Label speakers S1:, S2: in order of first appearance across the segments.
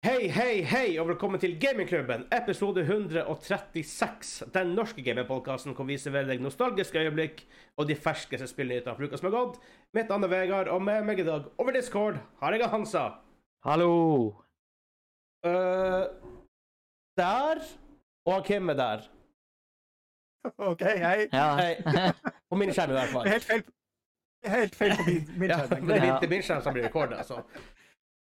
S1: Hei, hei, hei, og velkommen til Gamingklubben, episode 136. Den norske gamingpodkasten hvor vi serverer deg nostalgiske øyeblikk og de ferskeste spillnyhetene fra uka som er gått. Mitt navn er Vegard, og med meg i dag over Discord har jeg Hansa.
S2: Hallo!
S1: Øh, der og Kim er der.
S3: OK, hei.
S2: Ja.
S1: Hei. På min skjerm i hvert fall.
S3: Helt feil, helt feil på min, min
S1: Ja,
S3: skjerm.
S1: det er min- det er min skjerm som blir rekorda, altså.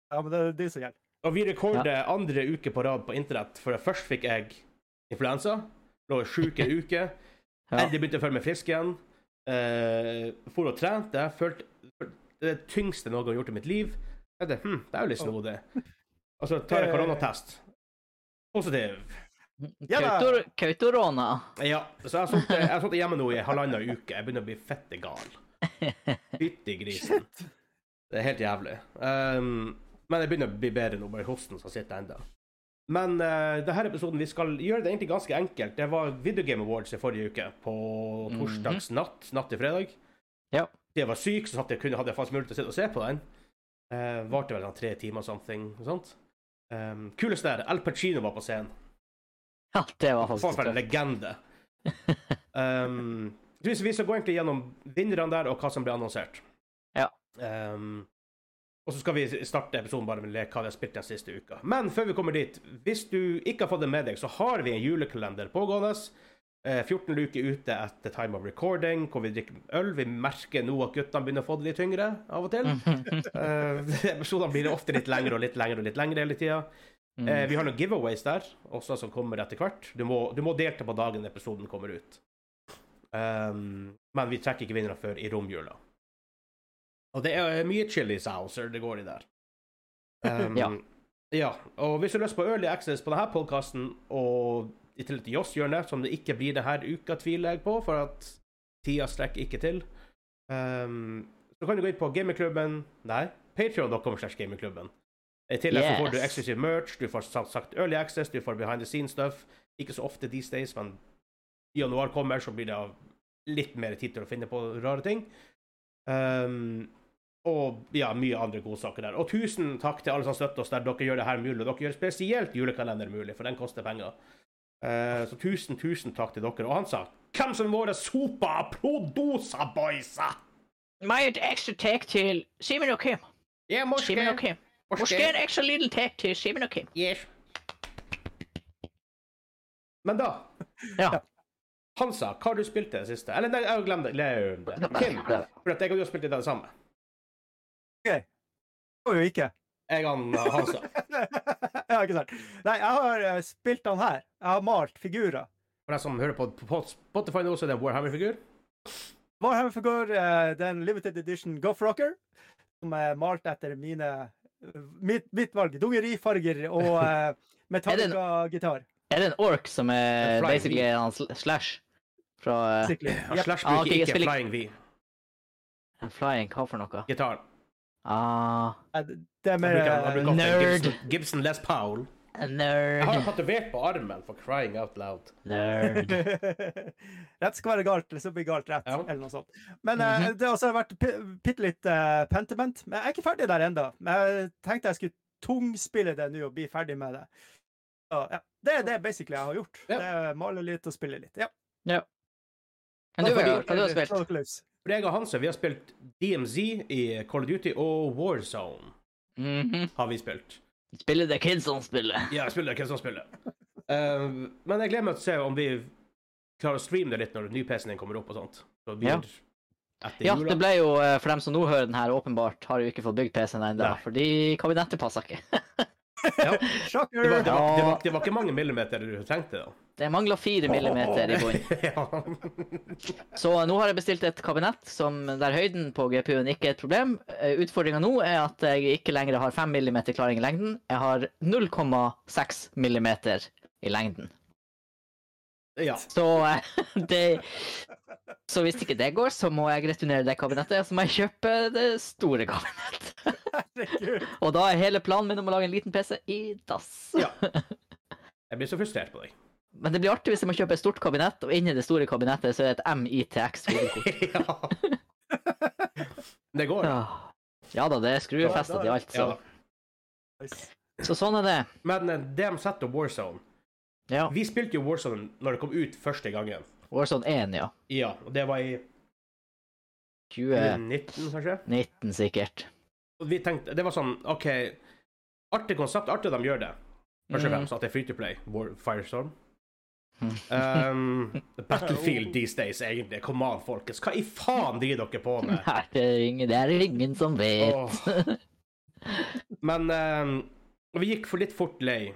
S3: Ja, men det er de som gjelder.
S1: Og vi rekorder andre uke på rad på internett, for først fikk jeg influensa. Lå sjuk en uke.
S2: Ja.
S1: Endelig begynte jeg å føle meg frisk igjen. Uh, for og trente. Følte følte- det er det tyngste noe jeg har gjort i mitt liv. Jeg tenkte, hm, det er jo litt snodig. Og så tar jeg koronatest. Positiv.
S3: Ja da.
S2: Kautor- Kautorona.
S1: Ja, så jeg har sittet- jeg har sittet hjemme nå i halvannen uke. Jeg begynner å bli fette gal. Fytti grisen. Det er helt jævlig. Ehm, men jeg begynner å bli bedre nå, bare hosten som sitter enda. Men eh, denne episoden vi skal gjøre det egentlig ganske enkelt. Det var Video Game Awards i forrige uke, på torsdags natt, natt til fredag.
S2: Ja.
S1: Jeg var syk, så hadde jeg, kunne, hadde jeg faktisk mulighet til å sitte og se på den. Uh, varte vel sånn tre timer og something. og sånt. Um, kuleste er Al Pacino var på scenen.
S2: Ja, det var
S1: Faen
S2: faktisk
S1: for en
S2: tøft.
S1: legende. Um, vi vi skal gå egentlig gjennom vinnerne der, og hva som ble annonsert.
S2: Ja.
S1: Um, og så skal vi starte episoden bare med å leke hva vi har spilt den siste uka. Men før vi kommer dit, hvis du ikke har fått det med deg, så har vi en julekalender pågående. Eh, 14 luker ute etter time of recording, hvor vi drikker øl. Vi merker nå at guttene begynner å få det litt tyngre av og til.
S2: Mm.
S1: Eh, episodene blir ofte litt lengre og litt lengre og litt lengre hele tida.
S2: Mm.
S1: Eh, vi har noen giveaways der, også som kommer etter hvert. Du må, du må delta på dagen episoden kommer ut. Um, men vi trekker ikke vinnere før i romjula. Og det er mye chili saucer det går i der. Um,
S2: Ja.
S1: ja. Og hvis du har lyst på early access på denne podkasten, og i tillegg til Joss-hjørnet, som det ikke blir denne uka, tviler jeg på, for at tida strekker ikke til, um, så kan du gå inn på gamingklubben Nei, patreon.com slash gamingklubben. I tillegg så får du
S2: Yes.
S1: eksklusiv merch, du får sagt, sagt early access, du får behind the scenes stuff. Ikke så ofte these days, men i januar kommer, så blir det litt mer tid til å finne på rare ting. Um, og ja, mye andre godsaker der. Og tusen takk til alle som støtter oss der dere gjør det her mulig. Og dere gjør spesielt julekalender mulig, for den koster penger. Eh, så tusen, tusen takk til dere. Og han sa Hvem som er våre sopa produsa boysa?
S2: Meg et ekstra tek til Simen og Kim.
S1: Jeg er morske.
S2: Kim.
S1: morske.
S2: en ekstra liten tek til Simen og Kim.
S1: Yes. Men da,
S2: Ja.
S1: Hansa, hva har du spilt i det siste? Eller nei, jeg har glemt det. Glem det. Kim, for at jeg og du har spilt i det samme.
S3: Det går jo ikke.
S1: Jeg og han, Hansa.
S3: ja, ikke sant. Nei, jeg har eh, spilt den her. Jeg har malt figurer.
S1: For deg som hører på på Spotify nå, så er det en Warhammer-figur.
S3: Warhammerfigur, eh, det er en limited edition Goff Rocker, som er malt etter mine Mitt, mitt valg. Dungerifarger og eh, Metallica-gitar.
S2: Er det en ork som er
S1: En flying
S2: basically
S1: bee.
S2: en sl- slash fra eh,
S3: Sikkert.
S1: Ja, Slash
S2: Ah, ok,
S1: bruker
S2: jeg
S1: ikke
S2: spiller-
S1: Flying V.
S2: en flying hva for noe?
S1: Gitar.
S2: Ah,
S3: Eh, Det er
S1: Jeg
S3: mer
S1: bruker- jeg
S3: eh,
S1: bruker ofte en
S2: nerd.
S1: Gibson, Gibson Les Powell.
S2: en
S1: Jeg har jo
S2: nerd.
S1: tatovert på armen, for crying out loud.
S2: Nerd.
S3: Rett skal være galt, eller så blir galt rett,
S1: Ja. Mhm.
S3: eller noe sånt. Men eh, det har også vært pi- bitte litt eh, pentiment. Men jeg er ikke ferdig der ennå. Men jeg tenkte jeg skulle tungspille det nå og bli ferdig med det. Så, ja. Det er det basically jeg har gjort.
S1: Ja.
S3: Det er Male litt og spille litt. Ja.
S2: Men du,
S1: Fordi-
S2: Vegard, hva du har spilt?
S3: Slå løs.
S1: For jeg og Hanse vi har spilt DMZ i Call of Duty og Warzone.
S2: Mhm.
S1: har vi spilt.
S2: Spiller det kids som spiller?
S1: Ja, jeg spiller hvem som spiller. Eh, men jeg gleder meg til å se om vi klarer å streame det litt når den nye PC-en din kommer opp og sånt. Så det blir
S2: Ja.
S1: etter
S2: Ja,
S1: jula.
S2: det ble jo, eh, for dem som nå hører den her, åpenbart har jo ikke fått bygd PC-en ennå,
S1: Nei.
S2: fordi kabinettet passer ikke.
S1: Ja, det,
S3: Shocker!
S1: var, det, var, det, var,
S2: Ja.
S1: det var ikke mange millimeter du trengte, da.
S2: Det mangler fire millimeter i bunnen.
S1: ja.
S2: Så nå har jeg bestilt et kabinett som, der høyden på GPU-en ikke er et problem. Utfordringa nå er at jeg ikke lenger har 5 mm klaring i lengden. Jeg har 0,6 mm i lengden.
S1: ja.
S2: Så eh, det Så hvis ikke det går, så må jeg returnere det kabinettet, og så må jeg kjøpe det store kabinettet.
S3: Herregud.
S2: Og da er hele planen min om å lage en liten PC i dass.
S1: Ja. Jeg blir så frustrert på deg.
S2: Men det blir artig hvis jeg må kjøpe et stort kabinett, og inni det store kabinettet så er det et MITX-videokort.
S1: ja. Det går.
S2: Ja da, det er skruefesta til alt,
S1: Ja
S2: så
S1: da.
S3: Nice.
S2: Så sånn er det.
S1: Men eh, det de setter Warzone
S2: Ja.
S1: Vi spilte jo Warzone når det kom ut første gangen.
S2: Warzone 1, ja.
S1: Ja, og det var i
S2: 2019,
S1: 2019, kanskje?
S2: sikkert.
S1: Og vi tenkte, Det var sånn OK, artig konsept, artig de gjør det. Først og
S2: Mm.
S1: fremst at det er free to play. War, Firestorm.
S2: Mm.
S1: Um, Battlefield these days, egentlig. Kom an, folkens. Hva i faen driver dere på med?
S2: Nei, det er ingen, det er ingen som vet.
S1: Åh. Men ehm, og vi gikk for litt fort lei.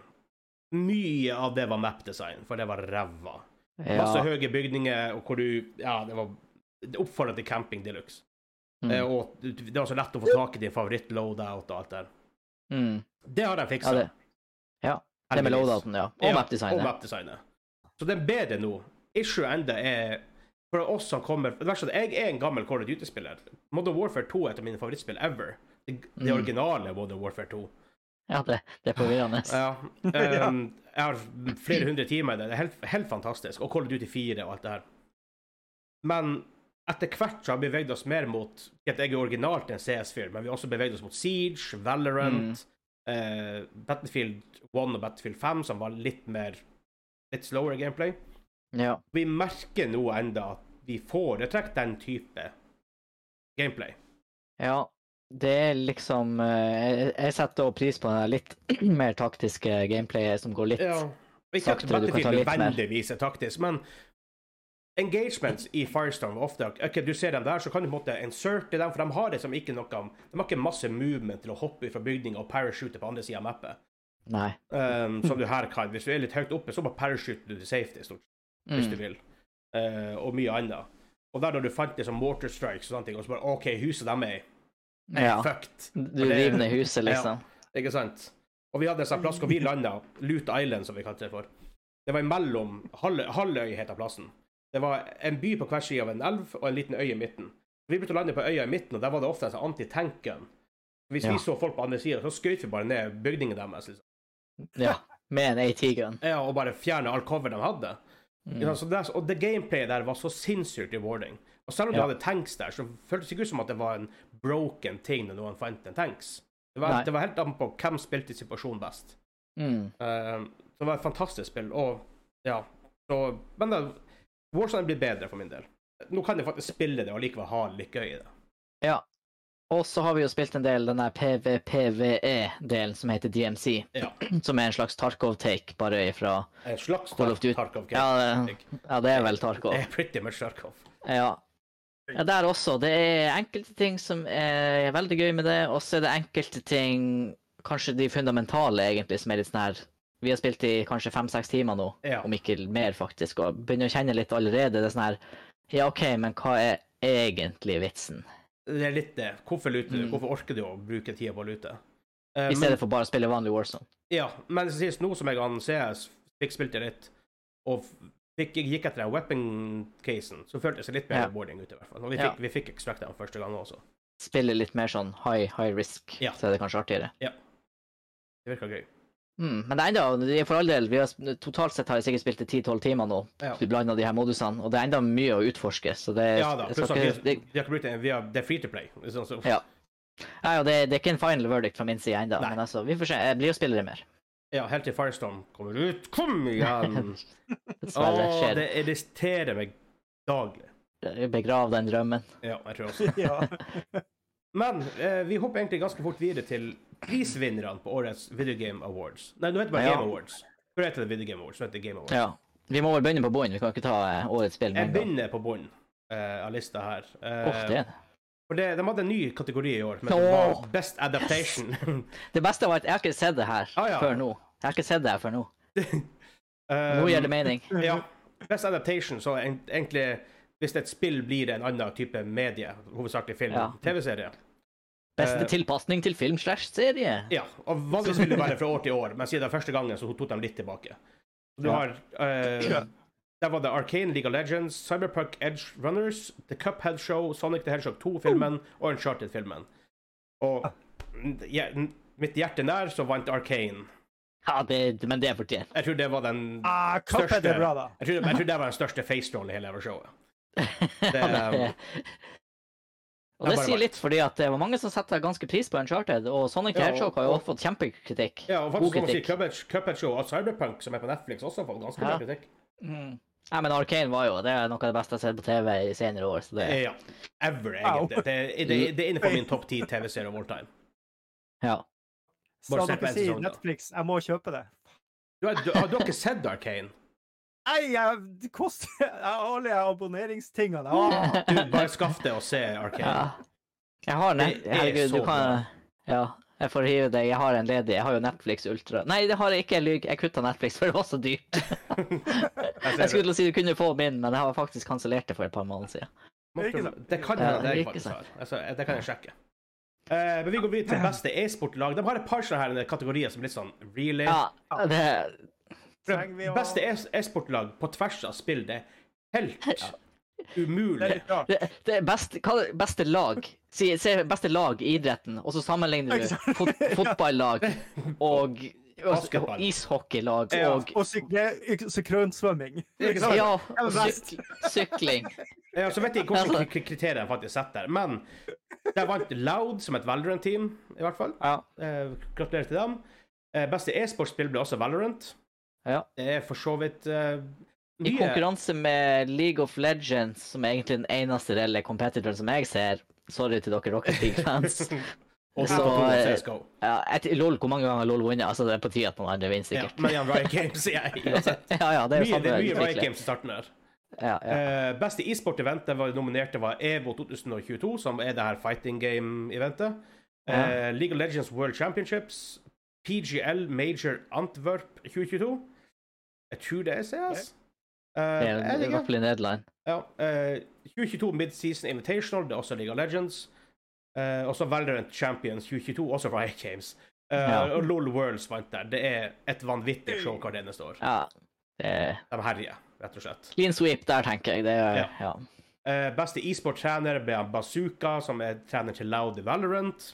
S1: Mye av det var map-design, for det var ræva. Masse
S2: Ja.
S1: høye bygninger, og hvor du Ja, det var det oppfordret til camping de luxe.
S2: Mm.
S1: Eh, og det var så lett å få tak i din favoritt-loadout og alt der.
S2: Mm.
S1: Det har de fiksa.
S2: Ja, det, det med loadouten, ja. Og
S1: Sånn. Og
S2: mapdesignet.
S1: mapdesignet. Så det er bedre nå. Issue enda er For oss som kommer det verste er at Jeg er en gammel Call of Duty-spiller. Modern Warfare 2 er et av mine favorittspill ever. Det, det
S2: Mm.
S1: originale Modern Warfare 2.
S2: Ja, det, det er forvirrende.
S1: Ja. ehm, jeg har flere hundre timer i det. Det er helt, helt fantastisk. Og Call of Duty 4 og alt det her. Men etter hvert så har vi beveget oss mer mot at Jeg er originalt en CS-fyr, men vi har også beveget oss mot Siege, Valorant, eh, Battlefield 1 og Battlefield 5, som var litt mer Litt slower gameplay.
S2: Ja.
S1: Vi merker nå enda at vi foretrekker den type gameplay.
S2: Ja, det er liksom eh, Jeg, jeg setter også pris på det litt mer taktiske gameplayet som går litt
S1: Og Ikke at
S2: Saktere, du kan ta
S1: Battlefield
S2: litt mer.
S1: nødvendigvis er taktisk, men engagements i Firestorm var ofte ok, Du ser dem der, så kan du på en måte inserte dem, for de har liksom ikke noe De har ikke masse movement til å hoppe ut fra bygninger og parachute på andre sida av mappet.
S2: Nei.
S1: Um, som du her kan. Hvis du er litt høyt oppe, så bare parachute du til safety, stort sett, hvis du
S2: Mm.
S1: vil. Eh, og mye annet. Og der da du fant liksom mortar strikes og sånne ting, og så bare OK, huset de er i,
S2: Ja.
S1: fucked.
S2: Du
S1: Og det-
S2: river ned huset, liksom.
S1: Ikke sant? Og vi hadde en sånn plass hvor vi landa, Lute Island, som vi kalte det for. Det var imellom Hall- Halløy, heter plassen. Det var en by på hver side av en elv og en liten øy i midten. Vi begynte å lande på øya i midten, og der var det ofte en sånn anti-tank-gun. Hvis
S2: Ja.
S1: vi så folk på andre sida, så skøyt vi bare ned bygningen deres. Liksom.
S2: Ja. Med en AT-gun.
S1: Ja, og bare fjerna all cover de hadde. Ikke
S2: Mm.
S1: sant? Så det, og det gameplayet der var så sinnssykt rewarding. Og selv om du
S2: Ja.
S1: hadde tanks der, så føltes det ikke ut som at det var en broken ting når noen fant en tanks. Det var,
S2: Nei.
S1: det var helt an på hvem spilte situasjonen best.
S2: Mm.
S1: Eh, så det var et fantastisk spill. Og ja, så Men det, Warzone blir bedre for min del. Nå kan jeg faktisk spille det og likevel ha litt gøy i det.
S2: Og så har vi jo spilt en del den der PVPVE-delen som heter DMC,
S1: Ja.
S2: som er en slags Tarkov-take, bare ifra
S1: En slags
S2: Call of Duty.
S1: Tarkov.
S2: ja, det-
S1: Det
S2: ja, det er vel Tarkov.
S1: er pretty much Tarkov.
S2: Ja. ja. Der også. Det er enkelte ting som er veldig gøy med det, og så er det enkelte ting, kanskje de fundamentale, egentlig, som er litt sånn her Vi har spilt i kanskje fem-seks timer nå,
S1: Ja.
S2: om ikke mer, faktisk, og begynner å kjenne litt allerede. Det er sånn her Ja, OK, men hva er egentlig vitsen?
S1: Det er litt det. Hvorfor luter du?
S2: Mm.
S1: Hvorfor orker du å bruke tida på å lute? Eh,
S2: I
S1: men,
S2: stedet for bare å spille vanlig Warzone.
S1: ja, men sist nå som jeg an CS, fikk spilt det litt, og fikk, jeg gikk etter den weapon-casen, så føltes det litt mer
S2: Ja.
S1: rewarding ut, i hvert fall. Og vi
S2: Ja.
S1: fikk, vi fikk extract den første gangen også.
S2: Spille litt mer sånn high, high risk,
S1: Ja.
S2: så er det kanskje artigere.
S1: Det virka gøy.
S2: Mm, men det er enda, det er for all del, vi har, sp- totalt sett har jeg sikkert spilt i 10-12 timer nå,
S1: Ja.
S2: du blander de her modusene, og det er enda mye å utforske, så det,
S1: Ja da.
S2: jeg
S1: Pluss
S2: skal
S1: at
S2: ikke,
S1: vi,
S2: det,
S1: vi har ikke brukt det, vi har, det er free to play. Sånn, så,
S2: Ja. Nei, og det, det er ikke en final verdict fra min side ennå,
S1: Nei.
S2: men altså, vi får se. Jeg blir jo spillere mer.
S1: ja, helt til Firestorm kommer ut. Kom igjen!
S2: Dessverre.
S1: Åh,
S2: skjer
S1: det irriterer meg daglig.
S2: det... Begrav den drømmen.
S1: Ja, jeg tror også.
S3: Ja.
S1: Men eh, vi hopper egentlig ganske fort videre til prisvinnerne på årets Video Game Awards. Nei, nå heter det bare
S2: Ja.
S1: Game Awards. Før heter det Video Game Awards, nå heter det Game Awards.
S2: Ja. Vi må vel begynne på bunnen, vi kan ikke ta eh, årets spill med
S1: Jeg
S2: en gang.
S1: begynner på bunnen eh, av lista her. Eh,
S2: Åh, det.
S1: For det, de hadde en ny kategori i år, men det
S2: Åh.
S1: var Best Adaptation.
S2: det beste var at jeg har ikke sett det her
S1: Ah, ja.
S2: før nå. Jeg har ikke sett det her før nå. Nå
S1: Um,
S2: gir det mening.
S1: Ja. Best adaptation, så er en- egentlig hvis et spill blir en annen type medie, hovedsakelig film,
S2: Ja.
S1: TV-serie
S2: Beste
S1: Eh,
S2: tilpasning til film slash serie.
S1: Ja. Og vanligvis vil det være fra år til år, men siden første gangen så tok de litt tilbake. Du
S2: Ja.
S1: har eh, Der var det Arcane, League of Legends, Cyberpunk Edge Runners, The Cuphead Show, Sonic the Hedgehog 2-filmen og Uncharted-filmen. Og ja, mitt hjerte nær så vant Arcane.
S2: Ja, det, men det er fortjent.
S1: Jeg tror det var den
S3: Ah, Cuphead
S1: Største.
S3: er bra, da.
S1: Jeg tror, jeg tror um, det var den største facerollen i hele showet.
S2: Ja, det... eh,
S1: Jeg
S2: Og det
S1: bare
S2: sier
S1: vet.
S2: litt, fordi at det var mange som setter ganske pris på Uncharted, og Sonic the
S1: Ja, og-
S2: Hedgehog har jo også fått kjempekritikk.
S1: Ja, og
S2: God
S1: faktisk som å si
S2: kritikk.
S1: Cuphead, Cuphead Show og Cyberpunk, som er på Netflix, også har fått ganske
S2: Ja.
S1: mye kritikk.
S2: Mm. Nei, men Arcane var jo det er noe av det beste jeg har sett på TV i senere år. så det...
S1: Eh, Ja. Ever, egentlig. Det, er- det, er- det er innenfor min topp ti TV-serie of all time.
S2: Ja.
S3: Skal
S1: sett på
S3: dere
S1: en
S3: si
S1: sesong, da.
S3: Netflix, jeg må kjøpe det.
S1: Du har, du, har du ikke sett Arcane?
S3: Nei, jeg, det koster jeg- alle de abonneringstingene. Ah,
S1: Du, bare skaff deg og se
S2: ja.
S1: Arcane.
S2: Jeg har
S1: Det
S2: net...
S1: er
S2: Herregud,
S1: så
S2: du kan Ja, jeg får hive deg. Jeg har en ledig. Jeg har jo Netflix Ultra. Nei, det har jeg ikke. Jeg lyver. Jeg kutta Netflix, for det var så dyrt.
S1: Jeg
S2: Jeg
S1: ser
S2: skulle
S1: det.
S2: til å si du kunne få min, men jeg har faktisk kansellert det for et par måneder siden.
S3: Ikke sant?
S1: Det kan
S2: Ja,
S1: hende det jeg
S2: ikke
S1: faktisk
S2: sant.
S1: har. Altså, det kan jeg sjekke. Eh, men vi går videre til beste e-sportlag. De har et par sånne her kategorier som er litt sånn really.
S2: Ja, det
S3: trenger vi å-
S1: Beste e- e-sportlag på tvers av spill, det er helt
S3: Det er
S1: umulig.
S3: litt rart.
S2: Det, det er best, hva er det- beste lag. Si, se beste lag i idretten, og så sammenligner
S3: Ikke
S2: du
S3: sant?
S2: fot, fotballag og, og
S1: Basketball.
S2: ishockeylag
S1: Ja.
S2: og
S3: Og sykle- sykronsvømming.
S1: Ikke sant?
S2: Ja,
S3: er best.
S2: syk, sykling.
S1: Ja, så vet jeg ikke hvordan kri- kriterier de faktisk setter, men der vant Loud som et Valorant-team, i hvert fall.
S2: Ja.
S1: Eh, gratulerer til dem. Eh, beste e-sportspill ble også Valorant.
S2: Ja.
S1: Det er for så vidt eh,
S2: I
S1: mye
S2: konkurranse med League of Legends, som er egentlig den eneste reelle competitoren som jeg ser Sorry til dere Rocket League-fans.
S1: Og Dota
S2: Så,
S1: 2 og
S2: eh,
S1: CSGO.
S2: Ja, et- LOL, hvor mange ganger har LOL vunnet? Altså, det er på tide at noen andre vinner,
S1: Ja,
S2: sikkert.
S1: men igjen, Riot Games sier jeg uansett.
S2: Ja, ja, det er jo
S1: Mye,
S2: samme
S1: det er mye Riot
S2: utvikler.
S1: Games i starten her.
S2: Ja, ja.
S1: Eh, beste e-sport-event der var nominerte var E EVO 2022, som er det her fighting game-eventet. Eh, League of Legends World Championships. PGL Major Antwerp 2022. Jeg tror det er CS. Eh,
S2: Det
S1: jeg
S2: er
S1: vet
S2: i hvert
S1: ikke.
S2: fall i Nederland.
S1: Ja, eh, 2022 Midseason Invitational, det er også League of Legends. Eh, også Valorant Champions 2022, også Riot Games. Eh,
S2: Ja.
S1: Og LOL Worlds vant der. Det er et vanvittig show hvert eneste år.
S2: Ja. Det er
S1: De herjer, rett og slett.
S2: clean sweep der, tenker jeg. Det er,
S1: Ja.
S2: ja.
S1: Eh, beste e-sport-trener ble han Bazooka, som er trener til Loud i Valorant.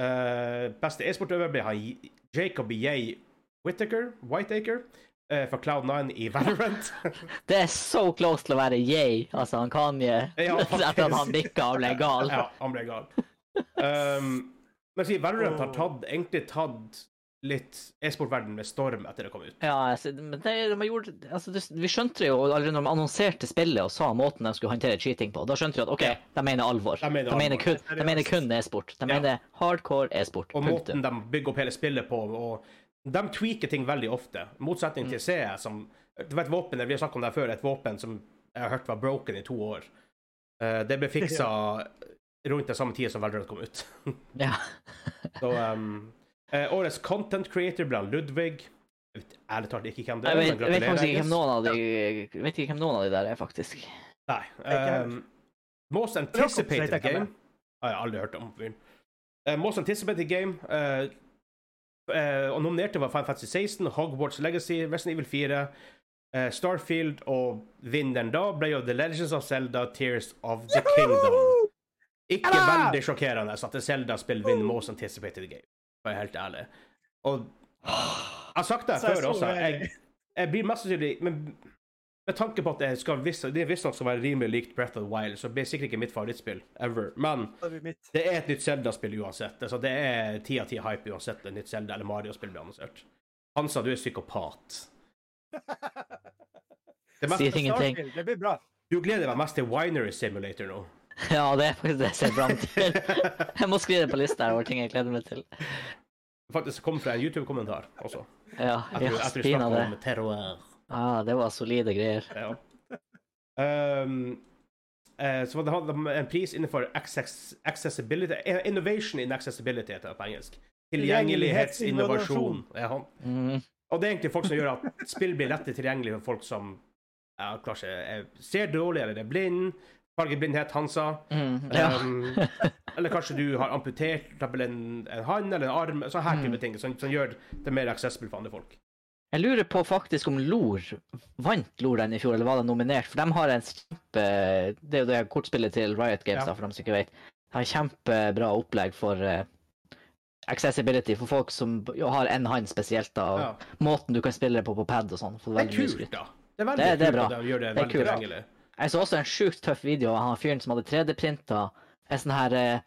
S1: Eh, beste e-sportøver ble han J- Jacob J. Whittaker, Whitaker eh, fra Cloud9 i Valorant.
S2: Det er så close til å være yay, altså han Kanye,
S1: Ja,
S2: etter at han
S1: faktisk.
S2: nikka og ble gal.
S1: ja, han ble gal. Um, men si, Valorant har tatt, egentlig tatt litt e-sportverdenen med storm etter det kom ut.
S2: Ja, altså, men det, de gjorde, altså, det, vi skjønte jo allerede når de annonserte spillet og sa måten de skulle håndtere cheating på, da skjønte vi at OK,
S1: Ja.
S2: de mener alvor.
S1: De mener alvor.
S2: kun, de mener kun e-sport. De
S1: Ja.
S2: mener hardcore e-sport.
S1: Og måten
S2: Punktum.
S1: de bygger opp hele spillet på. og De tweaker ting veldig ofte. I Motsetning
S2: Mm.
S1: til CS, som Du vet våpenet, vi har snakket om det her før, et våpen som jeg har hørt var broken i to år. Eh, det ble fiksa rundt den samme tida som Valorant kom ut.
S2: Ja.
S1: Så um, eh, Årets content creator ble han Ludvig. Jeg vet ærlig talt ikke hvem det
S2: Jeg
S1: er,
S2: vet, jeg vet faktisk ikke
S1: Agnes.
S2: hvem noen av de jeg vet ikke hvem noen av de der er, faktisk.
S1: Nei.
S3: heller.
S1: ehm, most
S3: Jakob vet
S1: anticipated
S3: jeg hvem
S1: game ah, Jeg har aldri hørt om fyren. Eh, most anticipated game eh, eh, Og nominerte var Final Fantasy 16, Hogwarts Legacy, Resident Evil 4, eh, Starfield og vinneren da ble jo The Legends of Zelda Tears of the Kingdom.
S3: Woohoo!
S1: Ikke
S3: Ja!
S1: veldig sjokkerende at Zelda spiller vinner Most Anticipated Game, for å være helt ærlig. Og jeg har sagt det
S3: Så jeg
S1: før
S3: så
S1: også,
S3: det.
S1: jeg, jeg blir mest sannsynlig Men med tanke på at jeg skal visst- det visstnok skal være rimelig likt Breath of the Wild, så blir det sikkert ikke mitt favorittspill ever. Men
S3: Det blir mitt.
S1: det er et nytt Zelda-spill uansett. Altså, det er ti av ti hype uansett et nytt Zelda eller Mario-spill blir annonsert. Hansa, du er psykopat. Det mest,
S2: Sier ingenting.
S3: Starfield, Det blir bra.
S1: du gleder deg mest til Winery Simulator nå.
S2: Ja, det er faktisk det jeg ser fram til. Jeg må skrive det på lista her over ting jeg gleder meg til.
S1: Faktisk kom fra en YouTube-kommentar også.
S2: Ja,
S1: Etter,
S2: ja
S1: etter du
S2: spinn av
S1: snakket
S2: det.
S1: om terroir.
S2: Ah, det var solide greier.
S1: Ja. Um, eh, så det hadde de en pris innenfor access, accessibility eh, Innovation in accessibility, heter det på engelsk. Tilgjengelighetsinnovasjon. Ja.
S2: Mm.
S1: Og det er egentlig folk som gjør at spill blir lettere tilgjengelig for folk som ja, klarer seg, eh, ser dårlig eller er blind. Fargeblindhet, Hansa.
S2: Mm. Ja.
S1: Um, eller kanskje du har amputert for eksempel en, en hånd eller en arm. Sånne her
S2: Mm.
S1: type ting som, som gjør det mer accessible for andre folk.
S2: Jeg lurer på faktisk om LOR vant LOR den i fjor, eller var den nominert? For de har en kjempe Det er jo det kortspillet til Riot Games,
S1: Ja.
S2: da, for dem som ikke vet. De har kjempebra opplegg for eh, accessibility for folk som b- jo har én hånd spesielt, da. Og
S1: Ja.
S2: Måten du kan spille det på på pad og sånn. får
S1: Det er
S2: veldig mye
S1: kult,
S2: skryt.
S1: da. Det er veldig
S2: Det- det er
S1: kult
S2: bra.
S1: at de gjør det
S2: Det er
S1: veldig
S2: kult.
S1: tilgjengelig.
S2: Jeg så også en sjukt tøff video av han fyren som hadde 3D-printa en sånn her eh,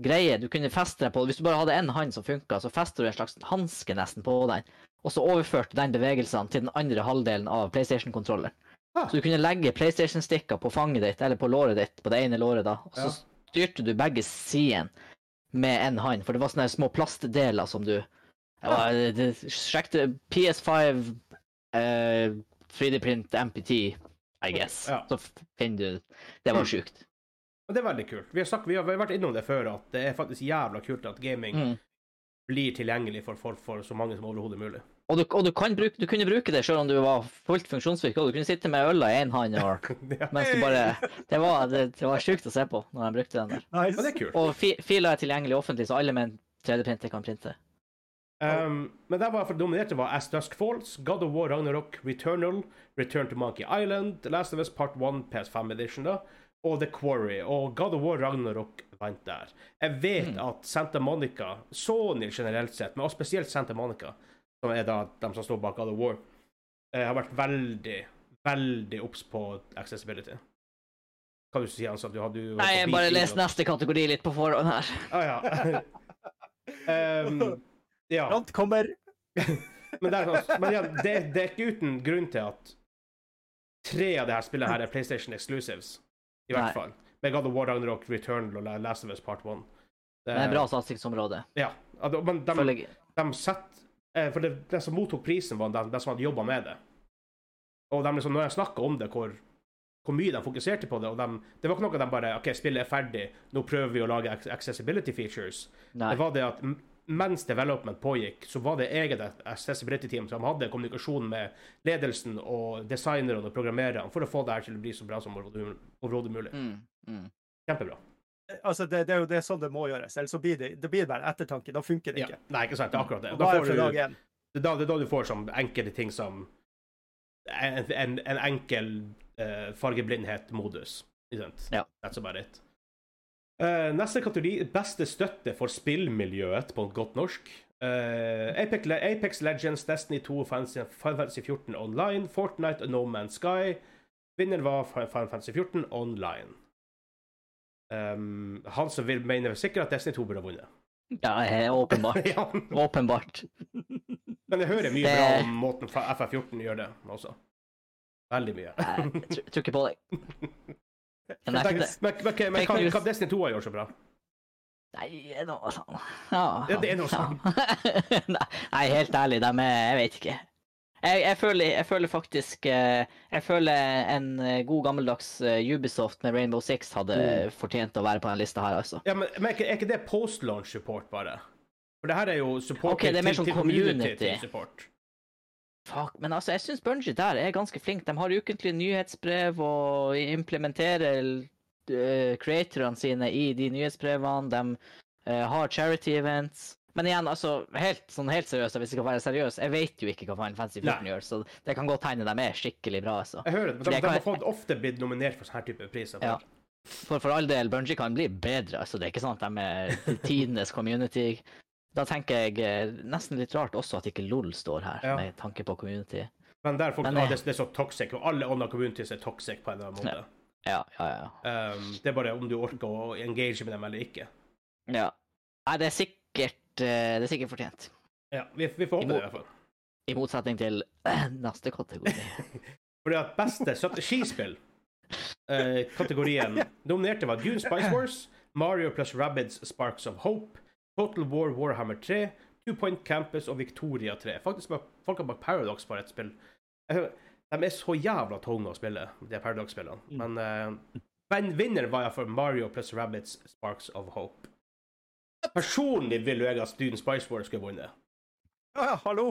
S2: greie du kunne feste deg på. Hvis du bare hadde én hand som funka, så fester du en slags hanske nesten på den. Og så overførte den bevegelsene til den andre halvdelen av PlayStation-kontrolleren.
S1: Ah.
S2: Så du kunne legge PlayStation-stikker på fanget ditt, eller på låret ditt, på det ene låret, da. Og så
S1: Ja.
S2: styrte du begge sidene med én hand, for det var sånne her små plastdeler som du det var- det- det- Sjekk det PS5 eh, 3D-print MPT, I guess.
S1: Ja.
S2: Så f- finner du Det var
S1: Mm.
S2: sjukt.
S1: Og det er veldig kult. Vi har, sagt, vi har vi har vært innom det før, at det er faktisk jævla kult at gaming
S2: Mm.
S1: blir tilgjengelig for folk for så mange som overhodet mulig.
S2: Og, du, og du, kan bruke, du kunne bruke det selv om du var fullt funksjonsfrisk. Og du kunne sitte med øla i én hånd. Og,
S1: ja.
S2: mens du bare, det var, det, det var sjukt å se på når de brukte den der.
S1: Men det
S3: Nice.
S1: er kult.
S2: Og fi, filer er tilgjengelig offentlig, så alle med en 3D-printer kan printe.
S1: Um, men der var for dominerte var As Dusk Falls, God of War, Ragnarok, Returnal, Return to Monkey Island, Last of Us Part 1, PS5 Edition, da, og The Quarry. Og God of War, Ragnarok vant der. Jeg vet
S2: Mm.
S1: at Santa Monica, Sony generelt sett, men også spesielt Santa Monica, som er da de som står bak God of War, eh, har vært veldig, veldig obs på accessibility. Hva du sier, altså? Du har, du,
S2: Nei, bare les neste kategori litt på forhånd her.
S1: Ah, ja. um, ja.
S3: Front kommer.
S1: Men, det er, sånn- men ja, det, det er ikke uten grunn til at tre av de her spillene her er PlayStation exclusives. I hvert
S2: Nei.
S1: fall. Med God of War, Ragnarok, Returnal og Last of Us Part 1.
S2: Men Det er bra satsingsområde.
S1: Ja. at- Men de,
S2: Følger-
S1: de setter eh, For det, de som mottok prisen, var de, de som hadde jobba med det. Og de liksom, når jeg snakka om det, hvor, hvor mye de fokuserte på det og de, Det var ikke noe de bare OK, spillet er ferdig, nå prøver vi å lage ac- accessibility features.
S2: Nei.
S1: Det var det at m- mens development pågikk, så var det eget accessibility team som hadde kommunikasjon med ledelsen og designerne og programmererne for å få det her til å bli så bra som overhodet overhodet mulig.
S2: Mm, mm.
S1: Kjempebra.
S3: Altså, det, det er jo det er sånn det må gjøres. Ellers så blir det, det blir bare ettertanke. Da funker det
S1: Ja.
S3: ikke.
S1: Nei, ikke sant. Det er akkurat det. Da
S3: Bare
S1: får
S3: fra
S1: du,
S3: dag én.
S1: det, er da, det er da du får sånn enkelte ting som en, en, en enkel eh, fargeblindhet-modus. Ikke sant?
S2: Ja.
S1: That's about it. Eh, neste kategori beste støtte for spillmiljøet på godt norsk. Eh, Apex, Le- Apex Legends, Destiny 2, Fantasy, Final Fantasy 14 Online, Fortnite og No Man's Sky. Vinner var Final Fantasy 14 Online. Um, han som vil mener sikkert at Destiny 2 burde ha vunnet.
S2: Ja, eh, åpenbart.
S1: ja.
S2: Åpenbart.
S1: Men jeg hører mye
S2: Det-
S1: bra om måten fra FF14 gjør det også. Veldig mye.
S2: Nei, Jeg tr- tror ikke på deg. Jeg nekter.
S1: Men, men, ok, men hva, hva Destiny 2 har gjort så bra?
S2: Nei, det er noe sånn. Ja,
S1: Ja, det er noe sånn.
S2: Ja. Nei, helt ærlig, de er Jeg vet ikke. Jeg, jeg, føler, jeg føler faktisk eh, Jeg føler en eh, god gammeldags eh, Ubisoft med Rainbow Six hadde
S1: Mm.
S2: eh, fortjent å være på den lista her, altså.
S1: Ja, men, men er ikke- er ikke det post-launch support, bare? For det her er jo support
S2: Ok, det er mer sånn community.
S1: support.
S2: Fuck, men altså, jeg syns Bungie der er ganske flink. De har ukentlige nyhetsbrev og implementerer eh, creatorene sine i de nyhetsbrevene. De eh, har charity events. Men igjen, altså, helt, sånn helt seriøst, hvis jeg skal være seriøs, jeg vet jo ikke hva Final Fantasy 14
S1: Nei.
S2: gjør, så det kan godt hende de er skikkelig bra, altså.
S1: Jeg hører det, men de,
S2: Det
S1: de
S2: kan-
S1: har fått ofte blitt nominert for sånne her type priser.
S2: Ja. For for all del, Bungie kan bli bedre, altså, det er ikke sånn at de er tidenes community. Da tenker jeg eh, nesten litt rart også at ikke LOL står her,
S1: Ja.
S2: med tanke på community.
S1: Men der folk,
S2: Men
S1: ah,
S2: det-
S1: det, det er så toxic, og alle andre communities er toxic på en eller annen måte.
S2: Ja, ja, ja.
S1: Um, det er bare om du orker å engage med dem eller ikke.
S2: Ja. Nei, det er sikkert eh, Det er sikkert fortjent.
S1: Ja, vi, vi får håpe det, i hvert fall.
S2: I motsetning til eh, neste kategori.
S1: Fordi at beste strategispill eh, kategorien dominerte var Dune Spice Wars, Mario pluss Rabbids Sparks of Hope, Total War Warhammer 3, Two Point Campus og Victoria 3. Faktisk var folka bak Paradox bare et spill. Eh, De er så jævla tunge å spille, de Paradox-spillene.
S2: Mm.
S1: Men eh, men vinner var jeg for Mario pluss Rabbids Sparks of Hope. Personlig ville jeg at Dune Spice Wars skulle vunnet.
S3: Ja, ja, hallo!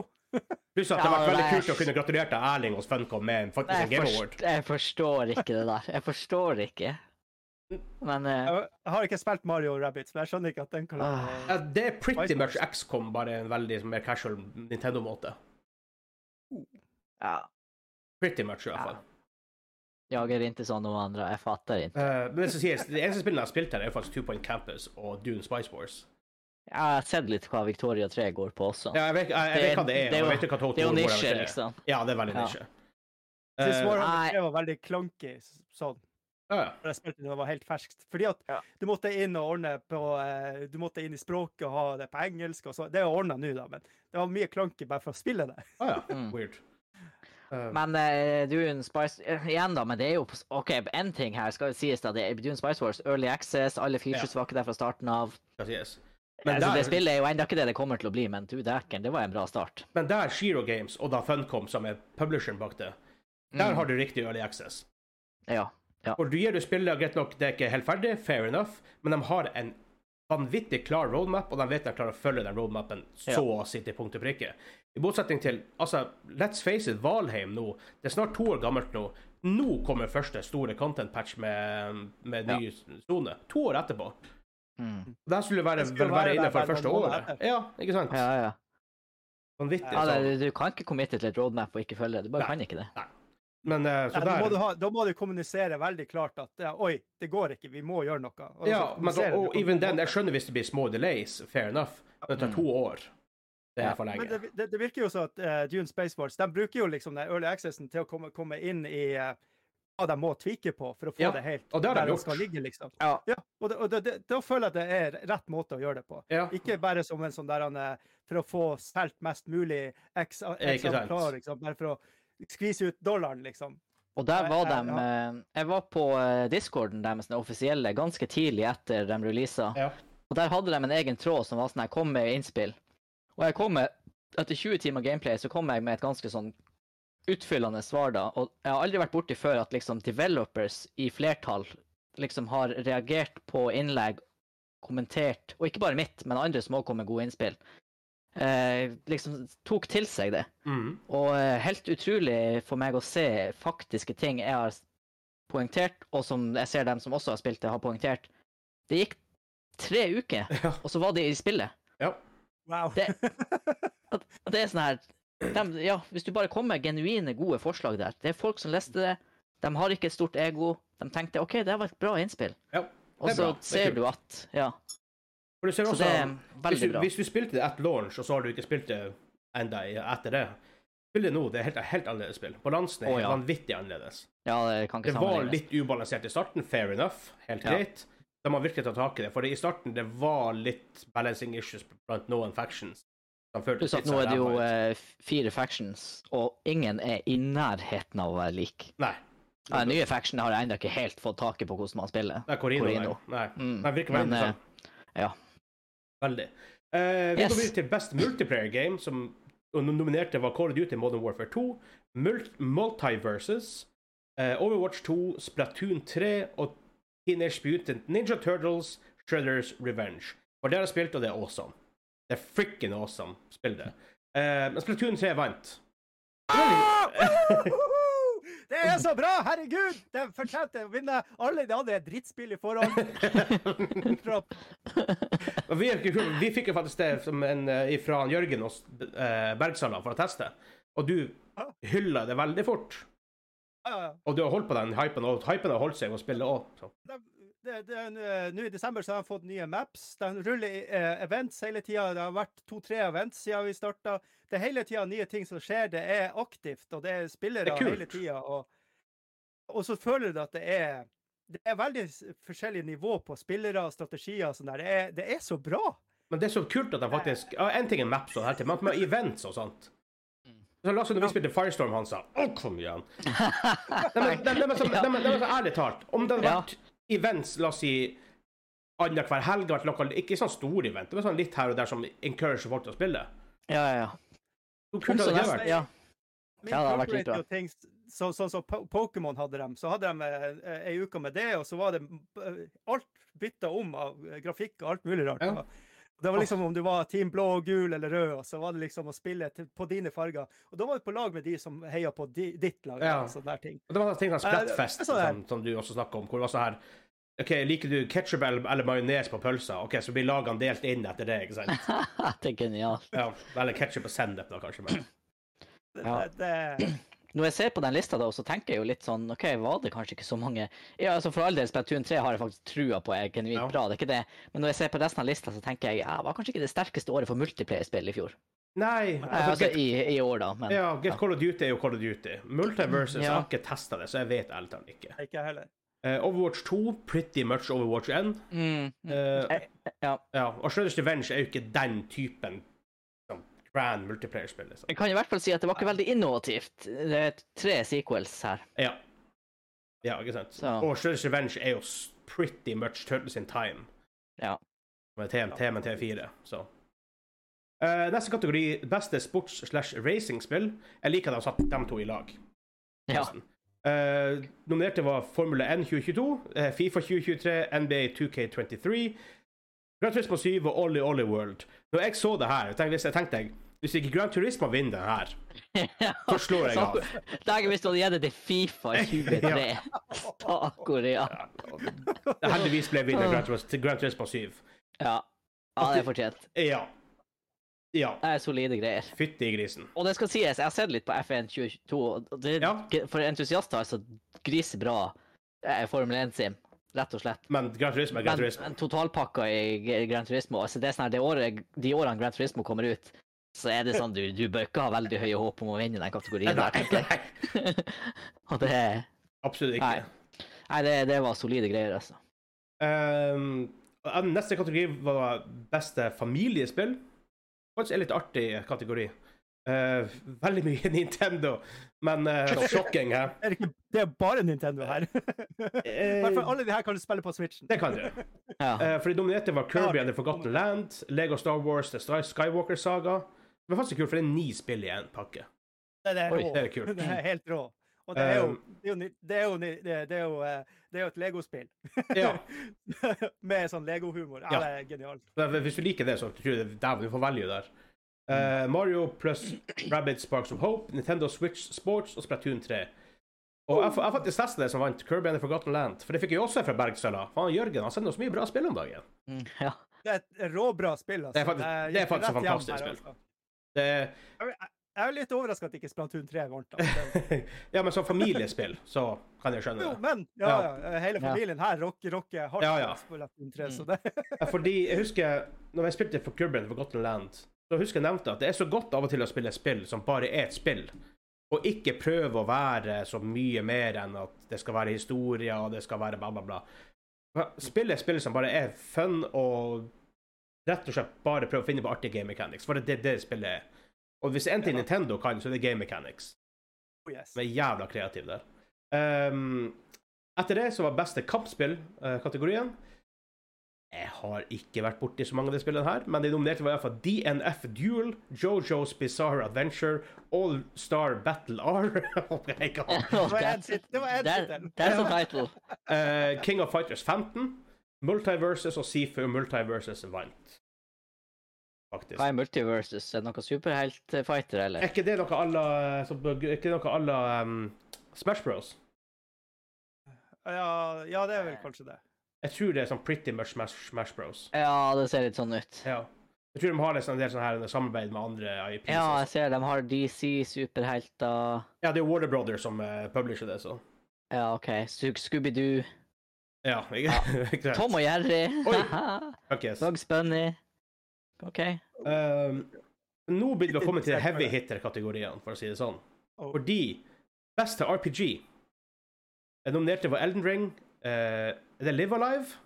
S1: Pluss at det
S2: Ja,
S1: hadde vært veldig
S2: det er-
S1: kult å kunne gratulert til Erling hos Funcom med en- faktisk en
S2: Jeg,
S1: Game Award.
S2: forst, jeg forstår ikke det der. Jeg forstår ikke. Men eh,
S3: Jeg har ikke spilt Mario Rabbits, men jeg skjønner ikke at den kan
S2: Ah.
S1: Ja, det er pretty
S3: Spice
S1: much
S3: Wars.
S1: XCOM, bare en veldig sånn mer casual Nintendo-måte.
S2: ja.
S1: Pretty much, i hvert fall.
S2: Jager ikke sånn noen andre. Jeg fatter ikke.
S1: Eh, men det som sies, det eneste spillet jeg har spilt her, er jo faktisk Two Point Campus og Dune Spice Wars.
S2: Jeg har sett litt hva Victoria 3 går på også.
S1: Ja, jeg, vet, jeg, jeg vet hva det er,
S2: Det er
S1: og
S2: jo-
S1: jeg vet jo hva Total
S2: Det er jo
S1: War er,
S2: nisje,
S1: det er.
S2: liksom.
S1: Ja, det er veldig
S2: Ja.
S1: nisje.
S3: Sist
S1: Eh,
S3: Warhammer
S2: nei.
S3: 3 var veldig clunky. s- Sånn.
S1: Ja, ja.
S3: når jeg spilte det, det var helt ferskt. Fordi at
S4: Ja.
S3: du måtte inn og ordne på eh, Du måtte inn i språket og ha det på engelsk og så. Det er ordna nå, da, men det var mye klanky bare for å spille det.
S1: Ah, ja.
S2: Mm.
S1: Weird. Eh,
S2: Men eh, Dune Spice eh, Igjen, da, men det er jo OK, en ting her skal jo sies, da. Det er Dune Spice Wars, Early Access, alle features var ikke der fra starten av.
S1: skal sies.
S2: Men
S1: Men
S2: altså, det
S1: der,
S2: spillet er jo ennå ikke det det kommer til å bli, men du dæken, det var en bra start.
S1: men der Shiro Games og da Funcom, som er publisheren bak det,
S2: Mm.
S1: der har du riktig early access.
S2: Ja.
S1: Og du gir du spillet, greit nok, det er ikke helt ferdig, fair enough, men de har en vanvittig klar roadmap, og de vet de klarer å følge den roadmapen så å si til punkt og prikke. I motsetning til altså, Let's face it, Valheim nå, det er snart to år gammelt nå. Nå kommer første store content patch med, med ny sone. To år etterpå.
S2: Mm.
S1: Det skulle være,
S3: Det skulle
S1: vel være
S3: være der
S1: innenfor
S3: bare
S1: det første
S3: noen måneder
S1: året. Ja, ikke sant?
S2: ja, ja.
S1: Vanvittig.
S2: ja
S1: sånn.
S2: det, du kan ikke committe til et roadmap og ikke følge det. Du bare
S1: Nei.
S2: kan ikke det.
S1: Men eh, så
S3: Nei, da, må du
S1: der
S3: ha, da må du kommunisere veldig klart at ja, oi, det går ikke, vi må gjøre noe. Og
S1: Ja, men
S3: så
S1: da,
S3: kommuniserer altså, du
S1: og
S3: på
S1: even
S3: en
S1: then,
S3: måte.
S1: jeg skjønner hvis det blir små delays, fair enough, men det tar to år. Det
S2: Ja.
S1: er for
S3: Mm. Men
S1: lenge.
S3: det, det, det virker jo som at eh, Dune Space Wars de bruker jo liksom den early accessen til å komme, komme inn i eh, hva de må tvike på for å få
S1: Ja,
S3: det helt
S1: og det har de
S3: der
S1: gjort.
S3: skal ligge, liksom.
S2: Ja.
S3: Og, det, og det, det, da føler jeg at det er rett måte å gjøre det på.
S1: Ja.
S3: Ikke bare som en sånn der han eh, for å få solgt mest mulig x
S1: Ikke sant.
S3: eksemplarer, liksom, bare for å skvise ut dollaren, liksom.
S2: Og der
S3: Nei,
S2: var
S3: nei,
S2: de eh, Jeg var på eh, discorden deres, den offisielle, ganske tidlig etter de releasa.
S1: Ja.
S2: Og der hadde de en egen tråd som var sånn her, kom med innspill. Og jeg kom med Etter 20 timer gameplay så kom jeg med et ganske sånn utfyllende svar da. Og jeg har aldri vært borti før at liksom developers i flertall liksom har reagert på innlegg, kommentert, og ikke bare mitt, men andre som òg kom med gode innspill. Eh, liksom tok til seg det.
S1: Mhm.
S2: Og eh, helt utrolig for meg å se faktiske ting jeg har s- poengtert, og som jeg ser dem som også har spilt det, har poengtert. Det gikk tre uker,
S1: Ja.
S2: og så var de i spillet.
S3: Wow.
S2: Det- At- at Det er sånn her dem- ja, Hvis du bare kommer med genuine, gode forslag der Det er folk som leste det, de har ikke et stort ego. De tenkte OK, det her var et bra innspill.
S1: Ja, det
S2: Og
S1: er bra,
S2: så
S1: det er
S2: ser
S1: kult.
S2: du at Ja.
S1: For du ser
S2: Så
S1: også,
S2: det er
S1: hvis,
S2: veldig
S1: du,
S2: bra.
S1: hvis du spilte det etter launch, og så har du ikke spilt det enda i- etter det Spill det nå, det er helt, helt annerledes spill. Balansen er
S2: Å, ja.
S1: vanvittig annerledes.
S2: Ja, det kan
S1: Det
S2: ikke
S1: var
S2: sammenlignes.
S1: litt ubalansert i starten, fair enough, helt
S2: Ja.
S1: greit. De har virkelig tatt tak i det, for i starten det var litt balancing issues blant noen factions. som førte
S2: Pluss at
S1: til
S2: nå
S1: seg
S2: er det jo
S1: ræva ut.
S2: eh, fire factions, og ingen er i nærheten av å være lik.
S1: Nei.
S2: Ja, den nye factionen har jeg ennå ikke helt fått taket på hvordan man spiller.
S1: Det er Corino.
S2: Corino.
S1: nei. Nei.
S2: Mm,
S1: Den virker veldig
S2: men, eh,
S1: interessant.
S2: ja.
S1: Veldig. Eh, vi
S2: Yes.
S1: går videre til Best Multiplayer Game, som og nom- nominerte var Call of Duty Modern Warfare 2, Mult Multiverses, eh, Overwatch 2, Splatoon 3 og Teenage Mutant Ninja Turtles, Shredders Revenge. For det har jeg spilt, og det er awesome. Det er frikken awesome spill, det. Eh, men Splatoon 3 vant.
S3: Ah! Woohoo! Det er så bra! Herregud! De fortjente å vinne. Alle de andre er drittspill i forhånd. Fra
S1: Og vi, er ikke- vi fikk jo faktisk det som en, fra Jørgen og eh, Bergsala for å teste, og du hylla det veldig fort.
S3: Ja, ja.
S1: Og du har holdt på den hypen, og hypen har holdt seg og spillet òg.
S3: De- det- det er en, eh, Nå i desember så har de fått nye maps. De ruller i, eh, events hele tida. Det har vært to-tre events siden vi starta. Det er hele tida nye ting som skjer. Det er aktivt, og det er spillere
S1: Det er kult.
S3: hele tida. Og, og så føler du at det er det er veldig s- forskjellige nivå på spillere og strategier. og sånn der. Det er, det er så bra!
S1: Men det er så kult at de faktisk ja, En ting er maps og det hele, men med events og sånt. Så la oss si når vi spilte Firestorm, han sa Å, kom igjen! Nei, men, nei, men, så, nei, men, nei, men så ærlig talt, om det hadde
S2: Ja.
S1: vært events, la oss si annenhver helg, vært lokal, ikke sånn stor event, men sånn litt her og der som encourager folk til å spille
S2: Ja, ja, ja.
S1: Så kult
S2: Om
S1: hadde
S2: så
S1: det
S2: nesten,
S1: vært.
S2: ja.
S3: Men
S2: Ja, det har vært litt
S3: incorporate jo Ting, så, sånn som Po- Pokémon hadde dem, så hadde de eh, eh, ei uke med det, og så var det eh, alt bytta om av eh, grafikk og alt mulig rart.
S1: Ja.
S3: Det var liksom om du var team blå, gul eller rød, og så var det liksom å spille til, på dine farger. Og da var du på lag med de som heia på di, ditt lag.
S1: Ja.
S3: Og sånne der ting.
S1: Og Det var ting som Splatfest,
S3: Eh, så det-
S1: som, som du også snakket om, hvor det var sånn her OK, liker du ketsjup eller, eller majones på pølsa? OK, så blir lagene delt inn etter det, ikke sant?
S2: det er genialt.
S1: Ja, eller ketchup og sennep, da, kanskje. Men.
S3: Det,
S2: Ja.
S3: det, det,
S2: Når jeg ser på den lista, da, så tenker jeg jo litt sånn OK, var det kanskje ikke så mange Ja, altså For all del, Splatoon 3 har jeg faktisk trua på er genuint
S1: Ja.
S2: bra, det er ikke det. Men når jeg ser på resten av lista, så tenker jeg ja, det var kanskje ikke det sterkeste året for multiplayerspill i fjor.
S1: Nei,
S2: Nei,
S1: altså,
S2: altså
S1: get,
S2: i, i år, da. Men
S1: ja, get Call of Duty er jo Call of Duty. Multiverses
S2: Ja.
S1: jeg har ikke testa det, så jeg vet ærlig talt ikke.
S3: ikke jeg heller.
S1: Eh, Overwatch 2, pretty much Overwatch 1.
S2: Mm.
S1: Eh,
S2: Eh, ja.
S1: ja. Og Shredders Revenge er jo ikke den typen sånn, grand multiplayer-spill. Liksom.
S2: Jeg kan i hvert fall si at det var ikke veldig innovativt. Det er tre sequels her.
S1: Ja. ja, ikke sant?
S2: Så.
S1: Og Shredders Revenge er jo s- pretty much Turtles in Time.
S2: Ja.
S1: Med TMT, men T4, så. Eh, neste kategori, beste sports-slash-racing-spill. Jeg liker at de satt dem to i lag.
S2: ja.
S1: nesten. Eh, nominerte var Formula 1 2022, eh, Fifa 2023, NBA 2K23, Grand Turismo 7 og Ollie Ollie World. Når jeg så det her, tenkte jeg, tenkte jeg hvis ikke Grand Turismo vinner den her, så slår jeg av.
S2: Sånn. Dagen hvis du hadde gitt det til Fifa 23. Stakkor, ja.
S1: Heldigvis ble vinner Grand Turismo, Grand Turismo 7.
S2: ja. Ja, det er fortjent.
S1: Ja. Ja.
S2: Det er solide greier.
S1: Fytti grisen.
S2: Og det skal sies, jeg har sett litt på F1 2022, og det,
S1: Ja.
S2: for entusiaster altså grisebra eh, Formel 1-sim, rett og slett.
S1: Men Grand Turismo er Grand
S2: Men,
S1: Turismo.
S2: men totalpakka i G- Gran Turismo altså det er sånn her, det året, De årene Gran Turismo kommer ut, så er det sånn du, du bør ikke ha veldig høye håp om å vinne den kategorien der, tenker
S1: Nei,
S2: jeg. Og det
S1: absolutt ikke.
S2: Nei. Nei, det, det var solide greier, altså.
S1: Ehm, og neste kategori var beste familiespill. Faktisk en litt artig kategori. Eh, veldig mye Nintendo, men uh, sjokking her.
S3: Er det, ikke, det er bare Nintendo her.
S1: Eh,
S3: Hvertfall alle de her kan du spille på Switchen.
S1: det kan dere.
S2: Ja.
S1: Eh, for de nominerte var Kirby and The Forgotten Land, Lego Star Wars, The Star Skywalker Saga. Det var faktisk kult, for det er ni spill i én pakke.
S3: Det, det, er
S2: Oi,
S3: rå.
S1: det er kult.
S3: Det er helt rå. Og det er jo
S2: Um.
S3: det er jo ni- det er jo, ni- det er- det er jo, eh, det er jo et legospill.
S1: Ja,
S3: Med sånn legohumor. Ja,
S1: Ja.
S3: det er genialt.
S1: men Hvis du liker det, så tror jeg dæven, du får value der. Eh, Mario pluss Rabbit Sparks of Hope, Nintendo Switch Sports og Splatoon 3. Og jeg, fa- jeg faktisk testa det som vant Kirby and The Forgotten Land, for det fikk jeg også fra Bergsøla. Faen, Jørgen han sender oss mye bra spill om dagen.
S2: Mm, ja.
S3: Det er et råbra spill. Altså.
S1: Det er faktisk- det er
S3: gikk
S1: faktisk et
S3: rett hjem
S1: fantastisk
S3: her,
S1: spill.
S3: altså.
S1: Det,
S3: Jeg- Jeg er litt overraska at ikke Splatoon 3 vant. altså.
S1: ja, men som familiespill, så kan jeg skjønne
S3: Jo,
S1: det.
S3: men ja, ja, hele
S2: Ja.
S3: familien her rocker, rocker hardt
S1: Ja, ja.
S3: på Splatoon 3, så det
S1: Ja, Fordi jeg husker når jeg spilte for Kirby and The Forgotten Land, så husker jeg nevnte at det er så godt av og til å spille spill som bare er et spill, og ikke prøve å være så mye mer enn at det skal være historie og det skal være bla, bla, bla. Spill er spill som bare er fun og rett og slett bare prøve å finne på artige game mechanics, for det er det spillet er. Og hvis det er en ting
S3: Ja.
S1: Nintendo kan, så er det game mechanics.
S3: oh, yes.
S1: De er jævla kreative der. Ehm, etter det så var beste kampspill-kategorien. Jeg har ikke vært borti så mange av de spillene her, men de nominerte var iallfall DNF Duel, Jojo's Bizarre Adventure, All Star Battle R okay, God.
S3: Det var en sit- det var en tittel.
S2: That's a sånn title.
S1: Eh, King of Fighters 15, Multiverses og Seafood Multiverses vant. Faktisk.
S2: Hva er multiverses? Er det noe superheltfighter,
S1: Er
S2: eller?
S1: ikke det noe à la så- Er ikke det noe à la um, Smash Bros?
S3: Ja, ja, det er vel kanskje det.
S1: Jeg tror det er sånn pretty much Smash, Smash Bros.
S2: Ja, det ser litt sånn ut.
S1: Ja. Jeg tror de har liksom en del sånn her samarbeid med andre IPs.
S2: Ja,
S1: også.
S2: jeg ser de har DC-superhelter.
S1: ja det er Warner Brothers som eh, publisher det, så
S2: Ja, OK. Su- Scooby-Doo.
S1: Ja. Ikke, ikke sant?
S2: Tom og Jerry.
S1: Oi. Ok, så,
S2: Bugs Bunny. OK.
S1: ehm, nå begynner vi å komme til heavy hitter-kategoriene, for å si det sånn.
S3: Oh.
S1: Fordi beste RPG Jeg nominerte var Elden Ring. eh, er det Live Alive?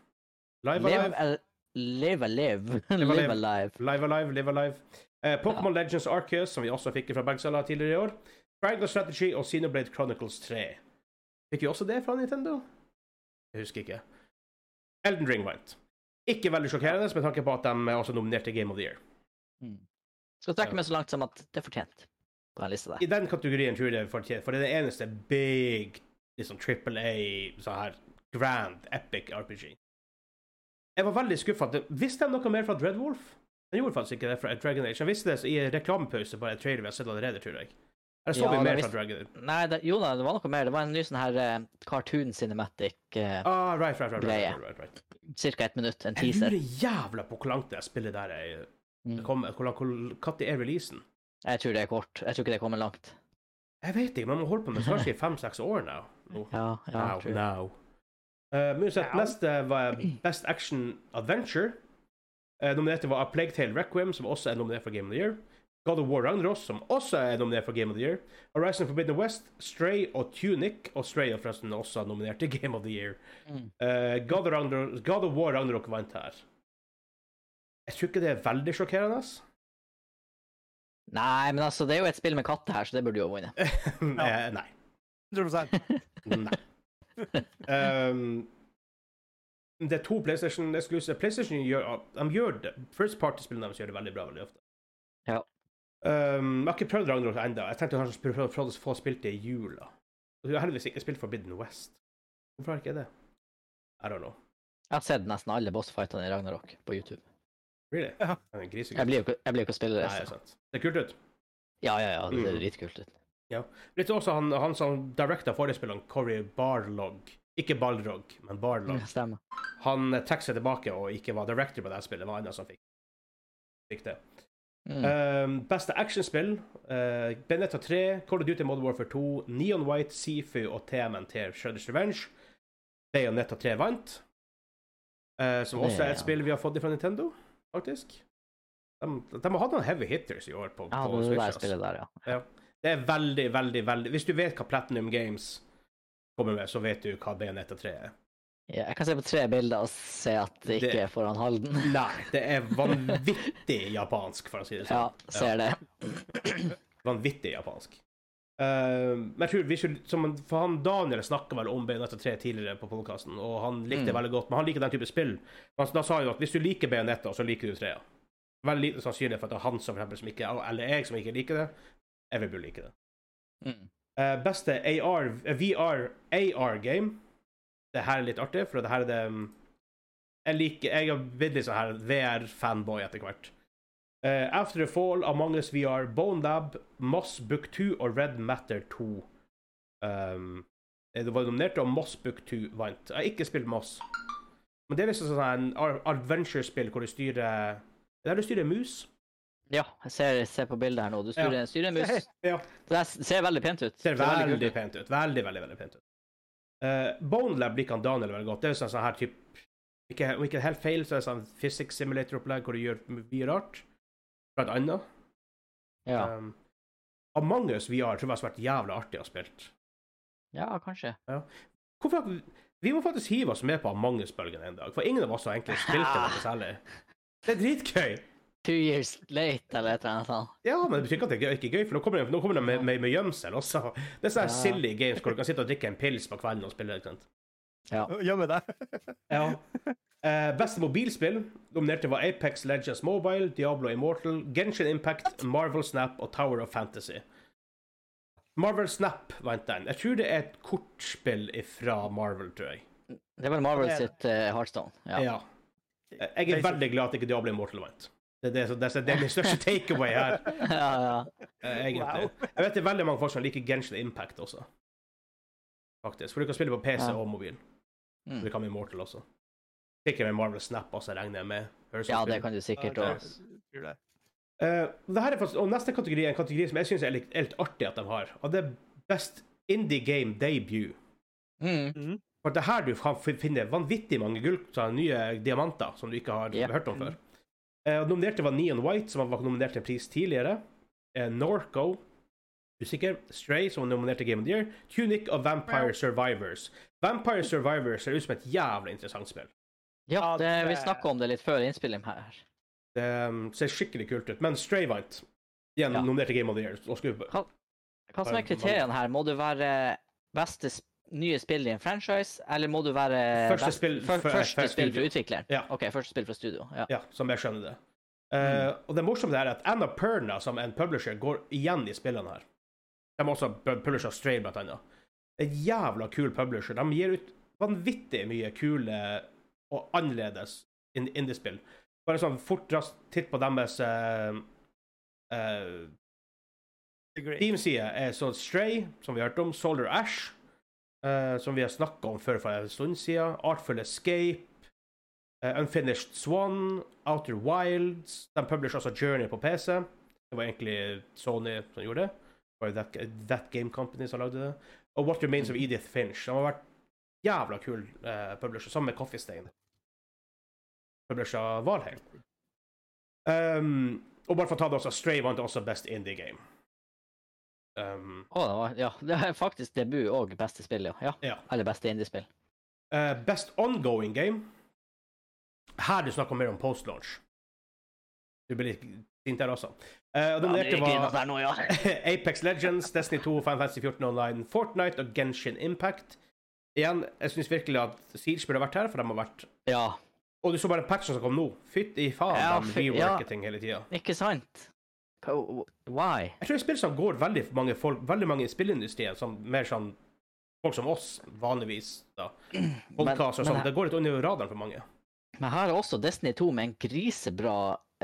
S1: Live
S2: Live
S1: Alive?
S2: a live. a live.
S1: a
S2: Live
S1: live.
S2: a live.
S1: Live Alive, Live Alive. Eh, Pokémon Legends Arceus, som vi også fikk fra Bergsala tidligere i år. Triangle Strategy og Xenoblade Chronicles 3. Fikk vi også det fra Nintendo? Jeg husker ikke. Elden Ring vant. Ikke veldig sjokkerende med tanke på at de også nominerte Game of the Year.
S2: Skal trekke meg så langt som at det er fortjent på den lista der.
S1: I den kategorien tror jeg det er fortjent, for det er den eneste big liksom triple A, sånn her grand epic RPG. Jeg var veldig skuffa. Visste de noe mer fra Dread Wolf? Den gjorde faktisk ikke det fra Dragon Age. Jeg visste det i reklamepause på en trailer vi har sett allerede, tror jeg. Eller så
S2: Ja,
S1: vi
S2: de
S1: mer
S2: visste-
S1: fra Dragon Age?
S2: Nei, det, jo da, det var noe mer. Det var en ny sånn her eh, cartoon cinematic. Uh,
S1: Ah, right, right, right, right,
S2: Greie.
S1: right, right, right.
S2: Cirka ett minutt. En
S1: Jeg
S2: teaser.
S1: lurer jævla på hvor langt det spillet der er
S2: Mm.
S1: kommet. Hvor langt- hvor- Når er releasen?
S2: Jeg tror det er kort. Jeg tror ikke det kommer langt.
S1: Jeg vet ikke, men man holder på med det kanskje i fem-seks år nå. nå.
S2: Ja, ja,
S1: Now,
S2: true.
S1: now. Eh, men uansett,
S3: Now.
S1: neste var Best Action Adventure. Eh, nominerte var A Plague Tale Requiem, som også er nominert for Game of the Year. God of War Ragnarok, som også er nominert for Game of the Year. Horizon Forbidden West, Stray og Tunic. Og Stray er forresten også nominert til Game of the Year.
S2: Mm.
S1: Eh, God, of Ragnarok, God of War Ragnarok vant her. Jeg tror ikke det er veldig sjokkerende. ass.
S2: Nei, men altså, det er jo et spill med katter her, så det burde jo ha vunnet.
S1: Eh, nei.
S3: 100
S1: Nei. Ehm, det er to PlayStation eksklusive. PlayStation gjør, de gjør det. First Party-spillene deres gjør det veldig bra veldig ofte.
S2: Ja.
S1: Ehm, jeg har ikke prøvd Ragnarok ennå. Jeg tenkte kanskje å prøve prøve å få spilt det i jula. Og Jeg har heldigvis ikke spilt Forbidden West. Hvorfor har jeg ikke det? I don't know.
S2: Jeg har sett nesten alle bossfightene i Ragnarok på YouTube.
S1: Really?
S3: Ja.
S1: Det er en
S2: Jeg
S1: grisegutt.
S2: blir jo ikke, jeg blir jo ikke å spille det.
S1: Nei, det er
S2: så-
S1: sant. Det er kult ut.
S2: Ja, ja, ja, det
S1: Mm.
S2: ser dritkult ut.
S1: Litt også han, han som directa forrige spillene, Corey Barlog. Ikke Balrog, men Barlog.
S2: Stemmer.
S1: han trakk seg tilbake og ikke var director på det her spillet. Det var andre som fikk, fikk det.
S2: Mm.
S1: Um, beste actionspill. Uh, Benetta 3, Call of Duty Modern Warfare 2, Neon White, Sifu og TMNT Shredders Revenge. Bayonetta 3 vant. Uh, som også er
S2: Ja.
S1: et spill vi har fått fra Nintendo, faktisk. De, de har hatt noen heavy hitters i år på,
S2: ja,
S1: på
S2: det, det
S1: Switch.
S2: der
S1: altså.
S2: spillet der, ja.
S1: Det er veldig, veldig, veldig Hvis du vet hva Platinum Games kommer med, så vet du hva Bayonetta 3 er.
S2: ja. Jeg kan se på tre bilder og se at det ikke
S1: Det-
S2: er foran Halden.
S1: Nei, det er vanvittig japansk, for å si det sånn.
S2: Ja, ser det.
S1: Vanvittig japansk. Eh, men jeg tror vi skulle, som han, for han Daniel snakka vel om Bayonetta 3 tidligere på podkasten, og han likte det
S2: Mm.
S1: veldig godt, men han liker den type spill. Men da sa han jo at hvis du liker Bayonetta, så liker du 3. Veldig liten sannsynlighet for at det er han som, for eksempel, som ikke, eller jeg som ikke liker det. Jeg vil burde like det.
S2: Mm.
S1: Eh, beste AR, eh, VR AR-game. Det her er litt artig, for det her er det mm, Jeg liker Jeg har blitt litt sånn her VR-fanboy etter hvert. Eh, After a Fall, Among Us VR, Bone Lab, Moss Book 2 og Red Matter 2. Um, eh, det var nominert, og Moss Book 2 vant. Jeg har ikke spilt Moss. Men det er visst sånn en ar- adventure-spill hvor du styrer Der du styrer mus.
S2: Ja, jeg ser, ser på bildet her nå. Du styrer, styrer en mus.
S1: Ja.
S2: Det der ser veldig pent ut.
S1: Ser
S2: Det er
S1: veldig,
S2: kult.
S1: pent ut. Veldig, veldig veldig pent ut. Eh, Bone Lab liker han Daniel veldig godt. Det er jo sånn, sånn her typ ikke, Om ikke helt feil, så er det sånn physics simulator-opplegg hvor du gjør mye rart. Blant annet.
S2: Ja.
S1: Um, Among us VR tror jeg har vært jævlig artig å spille.
S2: ja, kanskje.
S1: Hvorfor Vi må faktisk hive oss med på Among us-bølgen en dag, for ingen av oss har egentlig spilt det noe særlig. Det er dritgøy!
S2: Two years late, eller et eller annet sånt.
S1: Ja, men det betyr ikke at det er gøy- ikke er gøy, for nå kommer de, nå kommer de med, med, med gjemsel også. Det er sånne
S2: Ja.
S1: silly games hvor du kan sitte og drikke en pils på kvelden og spille. ikke sant?
S3: Gjemmer deg.
S1: Ja. Eh, beste mobilspill nominerte var Apex Legends Mobile, Diablo Immortal, Genshin Impact, Marvel Snap og Tower of Fantasy. Marvel Snap vant den. Jeg tror det er et kortspill fra Marvel, tror jeg.
S2: Det er vel Marvel
S3: Det er det.
S2: sitt eh, Heartstone. Ja.
S1: Ja. Eh, Jeg er veldig glad at ikke Diablo Immortal vant. Det er, det, som- det, er- det er min største takeaway her.
S2: ja, ja.
S1: eh, egentlig.
S3: Wow.
S1: Jeg vet det er veldig mange folk som liker Genshin Impact også. Faktisk. For du kan spille på PC
S2: Ja.
S1: og mobil.
S2: Mm.
S1: Du kan med Immortal også. Sikkert med Marvel Snap også, regner jeg med. Høres
S2: ja,
S1: ut som.
S2: det kan du sikkert
S3: Ja,
S2: òg.
S3: det- tror det.
S1: Eh, det her er faktisk, og Neste kategori er en kategori som jeg syns er litt, er litt artig at de har. Og det er Best Indie Game Debut.
S2: Mm.
S3: Mhm.
S1: For det er her du kan fi- finne vanvittig mange gull, sånne nye diamanter, som du ikke har
S2: Yep.
S1: hørt om før. Eh, og nominerte var Neon White, som var nominert til en pris tidligere. Eh, Norco, usikker. Stray, som var nominert til Game of the Year. Tunic og Vampire Survivors. Vampire Survivors ser ut som et jævlig interessant spill.
S2: Ja,
S3: Ja,
S2: det, vi
S3: det-
S2: snakka om det litt før innspilling her.
S1: Det um, ser skikkelig kult ut. Men Stray vant. Igjen
S2: Ja.
S1: nominert til Game of the Year. Og skulle
S2: Hva som
S1: Bare
S2: er kriteriene her? Må du være beste sp nye spill i en franchise, eller må du være
S1: Første
S2: best-
S1: spill
S2: fyr-
S1: fra-
S2: første
S1: fra
S2: spill fra
S1: studio.
S2: utvikleren?
S1: Ja.
S2: OK, første spill fra studio. Ja.
S1: Ja, som jeg skjønner det. Eh, Og det morsomme er at Anna Perna, som er en publisher, går igjen i spillene her. De er også pu- publisher av Stray, blant annet. En jævla kul publisher. De gir ut vanvittig mye kule og annerledes in- indiespill. Bare sånn fort raskt titt på deres eh, uh,
S3: Agree.
S1: Teamside er så Stray, som vi har hørt om, Solar Ash, eh, som vi har snakka om før for en stund siden, Artful Escape, eh, Unfinished Swan, Outer Wilds De publisher også Journey på PC. Det var egentlig Sony som gjorde det. Det var jo That, that Game Company som lagde det. Og What Remains of Edith Finch. De har vært jævla kul eh, publisher, sammen med Coffee Stain. Publisher Valheim. Um, Og bare for å ta det også, Stray vant også Best Indie Game. Um,
S2: Å, det var, ja. Det er faktisk debut og beste spill, ja. ja.
S1: ja.
S2: Eller beste indiespill.
S1: Eh, best Ongoing Game Her du snakker mer om post-launch. Du blir litt sint der også. Eh, og
S2: Ja, det
S1: nominerte
S2: gikk inn
S1: var
S2: at det er altså. noe, ja.
S1: Apex Legends, Destiny 2, Final Fantasy 14 Online, Fortnite og Genshin Impact. Igjen, jeg syns virkelig at Siege burde vært her, for de har vært
S2: Ja,
S1: Og du så bare patchen som kom nå. Fytti faen,
S2: Ja,
S1: de
S2: fy-
S1: reworker
S2: ja.
S1: ting hele tida.
S2: ikke sant? Hva- Why?
S1: Jeg tror det er spill som går veldig mange folk, veldig mange i spillindustrien, som mer sånn folk som oss, vanligvis, da. Podkaster og
S2: men-
S1: sånn. Det går litt under radaren for mange.
S2: Men her er også Destiny 2 med en grisebra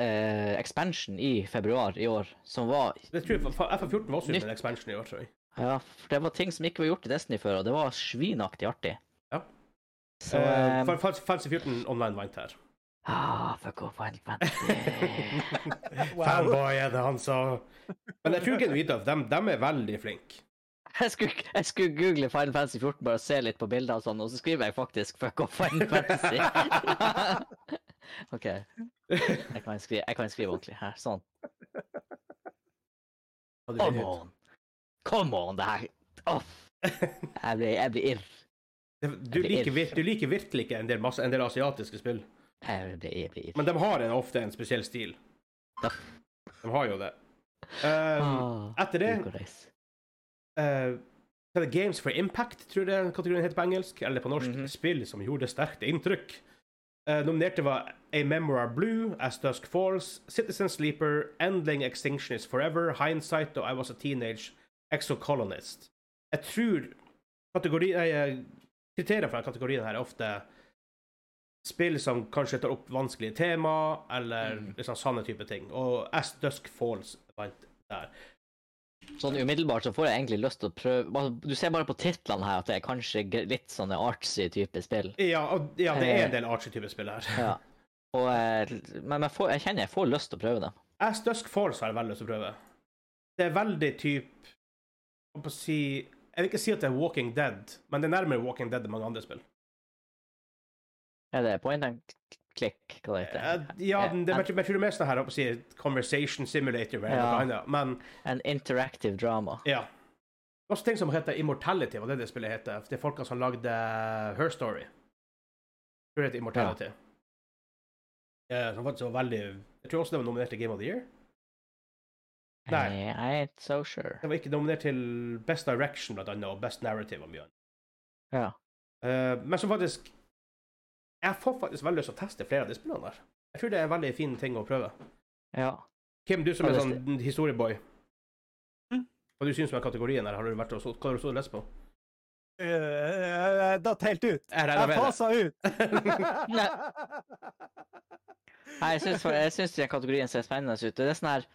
S2: eh, expansion i februar i år, som var
S1: Det tror jeg, fa- fa- FF14 var også ute
S2: Nytt.
S1: med en expansion i år, tror jeg.
S2: Ja, for det var ting som ikke var gjort i Destiny før, og det var svinaktig artig.
S1: Ja.
S2: Så
S1: Eh,
S2: eh,
S1: Fa- Fa- Fantasy 14 online vant her.
S2: ah, Fuck off, Wild Fantasy.
S3: Wow.
S1: Fanboy er det han sa. Men jeg tror ikke Genuita dem, dem er veldig flinke.
S2: jeg, skulle, jeg skulle google Final Fantasy 14 bare og se litt på bilder og sånn, og så skriver jeg faktisk fuck off Final Fantasy. OK. Jeg kan skrive, jeg kan skrive ordentlig her. Sånn. Come on. Come on, det her Åh, Jeg blir, jeg blir irr.
S1: Det- Du liker, vir- du liker virkelig ikke en del, masse, en del asiatiske spill,
S2: Jeg blir, jeg blir irr.
S1: men de har en, ofte en spesiell stil.
S2: Ja.
S1: De har jo det. Um,
S2: Ah,
S1: etter det
S2: Nicolas.
S1: Eh, hva er det Games for Impact, tror jeg den kategorien heter på engelsk, eller på norsk.
S2: Mhm.
S1: Spill som gjorde sterkt inntrykk. Eh, nominerte var A Memoir Blue, As Dusk Falls, Citizen Sleeper, Endling Extinction Is Forever, Hindsight og I Was A Teenage Exocolonist. Jeg tror kategori, nei, eh, kriteriene for denne kategorien her er ofte spill som kanskje tar opp vanskelige tema, eller
S2: Mm.
S1: liksom sanne type ting. Og As Dusk Falls vant der.
S2: Sånn umiddelbart så får jeg egentlig lyst til å prøve bare- Du ser bare på titlene her at det er kanskje g- litt sånne artsy type spill.
S1: Ja, og, ja det er en
S2: Eh.
S1: del archetype spill her.
S2: Ja. Og, eh, men jeg, får, jeg kjenner jeg får lyst til å prøve dem.
S1: As Dusk Falls har jeg veldig lyst til å prøve. Det er veldig typ Jeg holdt på å si Jeg vil ikke si at det er Walking Dead, men det er nærmere Walking Dead enn mange andre spill.
S2: Er det point and click, hva det
S1: Eh,
S2: heter?
S1: Ja,
S2: eh,
S1: den- det, men jeg tror det er mer sånn her jeg holdt på å si, Conversation Simulator eller
S2: Ja.
S1: noe annet. Men
S2: An interactive drama.
S1: ja. Også ting som heter Immortality, var det det spillet heter. Det er folka som lagde Her Story. Jeg tror det heter Immortality. Eh, Som faktisk var veldig Jeg tror også det var nominert til Game of the Year. Nei.
S2: Eh, I ain't so sure.
S1: Det var ikke nominert til Best Direction, blant annet, og Best Narrative og mye annet.
S2: Ja.
S1: Eh, men som faktisk Jeg får faktisk veldig lyst til å teste flere av de spillene der. Jeg tror det er en veldig fin ting å prøve.
S2: ja.
S1: Kim, du som er
S2: Ja, det-
S1: sånn historieboy.
S3: Mm.
S1: Hva du syns om den kategorien her? Har du vært og så, hva har du så og lest på?
S3: Eh, Jeg datt helt ut.
S1: Jeg
S3: Jeg fasa ut.
S2: Nei, jeg syns, jeg syns den kategorien ser spennende ut. Det er sånn her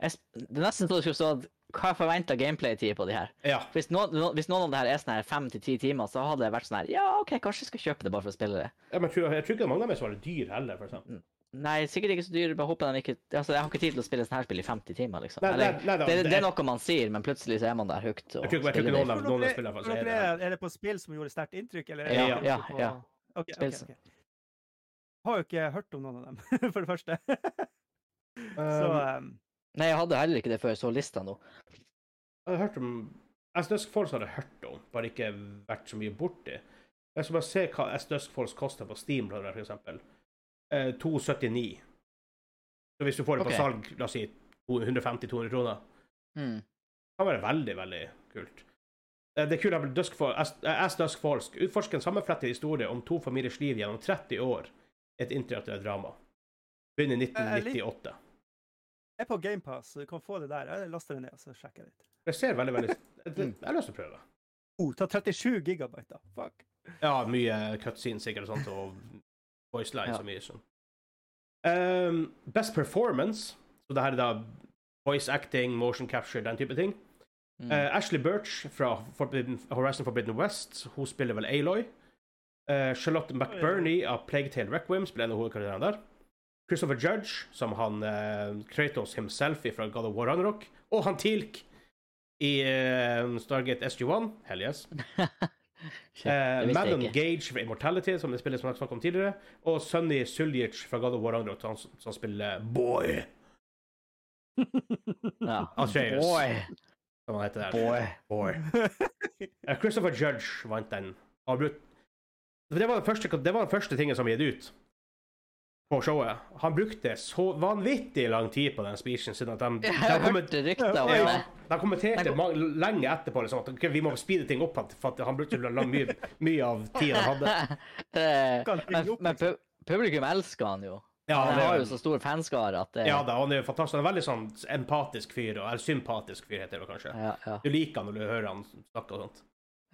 S2: jeg, sp- Det er nesten så det skulle stått hva er forventa gameplay-tid på de her.
S1: Ja.
S2: Hvis noen, no- hvis noen av det her er sånn her fem til ti timer, så hadde det vært sånn her Ja, OK, kanskje jeg skal kjøpe det bare for å spille det.
S1: Ja, men Jeg tror, jeg tror ikke mange av dem er så veldig dyr heller, for eksempel.
S2: Nei, sikkert ikke så dyr. Bare håper de ikke Altså, jeg har ikke tid til å spille sånn her spill i 50 timer, liksom.
S1: Nei,
S2: Eller,
S1: nei, nei, da,
S2: det, det
S1: det-
S2: er noe man sier, men plutselig så er man der hooked. og
S1: Jeg tror ikke- jeg tror ikke
S2: spiller det.
S1: noen av
S3: Tror dere-
S1: spiller, for så
S3: tror
S1: er det
S3: dere- Er det på spill som gjorde sterkt inntrykk, eller? er det
S1: Ja,
S3: inntrykk
S2: ja,
S3: på-
S2: ja.
S3: Ok, ok,
S2: Spill som-
S3: ok. Har jo ikke hørt om noen av dem, for det første. Så um,
S2: Nei, jeg hadde heller ikke det før jeg så lista nå.
S1: Jeg har hørt om As Dusk Falls har jeg hørt om, bare ikke vært så mye borti. Jeg skal bare se hva As Dusk Falls koster på Steam, blant annet, for eksempel. Eh, 279. Så hvis du får det på
S2: Ok.
S1: salg, la oss si 150-200 kroner,
S2: Mm.
S1: kan være veldig, veldig kult. Eh, Det er kult at Dusk Fall- As- eh, As Dusk Falls utforsker en sammenflettet historie om to familiers liv gjennom 30 år i et interaktivt drama. Begynner i
S3: Eh, Jeg lik-
S1: 1998.
S3: jeg er på GamePass, så du kan få det der. Jeg laster det ned og så sjekker jeg litt.
S1: Det ser veldig, veldig Jeg har lyst til å prøve.
S3: Oh, ta 37 gigabyte, da. Fuck.
S1: Ja, mye cutscenes sikkert og sånt, og voice lines
S2: Ja.
S1: og mye sånn. Ehm, best performance, så det her er da voice acting, motion capture, den type ting.
S2: Mm.
S1: Eh, Ashley Birch fra Forbidden, Horizon Forbidden West, hun spiller vel Aloy. Eh, Charlotte McBurney av Plague Tale Requiem spiller en av hovedkarakterene der. Christopher Judge, som han eh, Kratos himself fra God of War Ragnarok. Og han Teal'c i eh, Stargate SG-1. Hell yes.
S2: Shit,
S1: Eh,
S2: det visste jeg
S1: Madam
S2: ikke.
S1: Gage fra Immortality, som det spillet som jeg snakket om tidligere. Og Sunny Suljic fra God of War Ragnarok, han som spiller Boy.
S2: Ja.
S1: Atreus,
S2: Boy,
S1: som han heter der.
S2: boy.
S1: Boy. Eh, Christopher Judge vant den. Avbrutt. Det var den første, det var den første tingen som ble gitt ut på showet. Han brukte så vanvittig lang tid på den speechen sin at de, de,
S2: Jeg har
S1: kommen-
S2: hørt rykter om
S1: ja,
S2: det.
S1: de kommenterte
S2: Den
S1: ma- lenge etterpå liksom, at ok, vi må speede ting opp, for at han brukte lang, mye, mye av tida han hadde.
S2: Det-
S3: Kan ikke
S2: Men,
S3: opp,
S2: men pu- publikum elsker han jo.
S1: Ja,
S2: Han
S1: det-
S2: har jo så stor fanskare at det
S1: Ja da, han er jo fantastisk. Han er veldig sånn empatisk fyr, og- eller sympatisk fyr, heter det vel kanskje.
S2: ja, ja,
S1: Du liker han når du hører han snakke og sånt.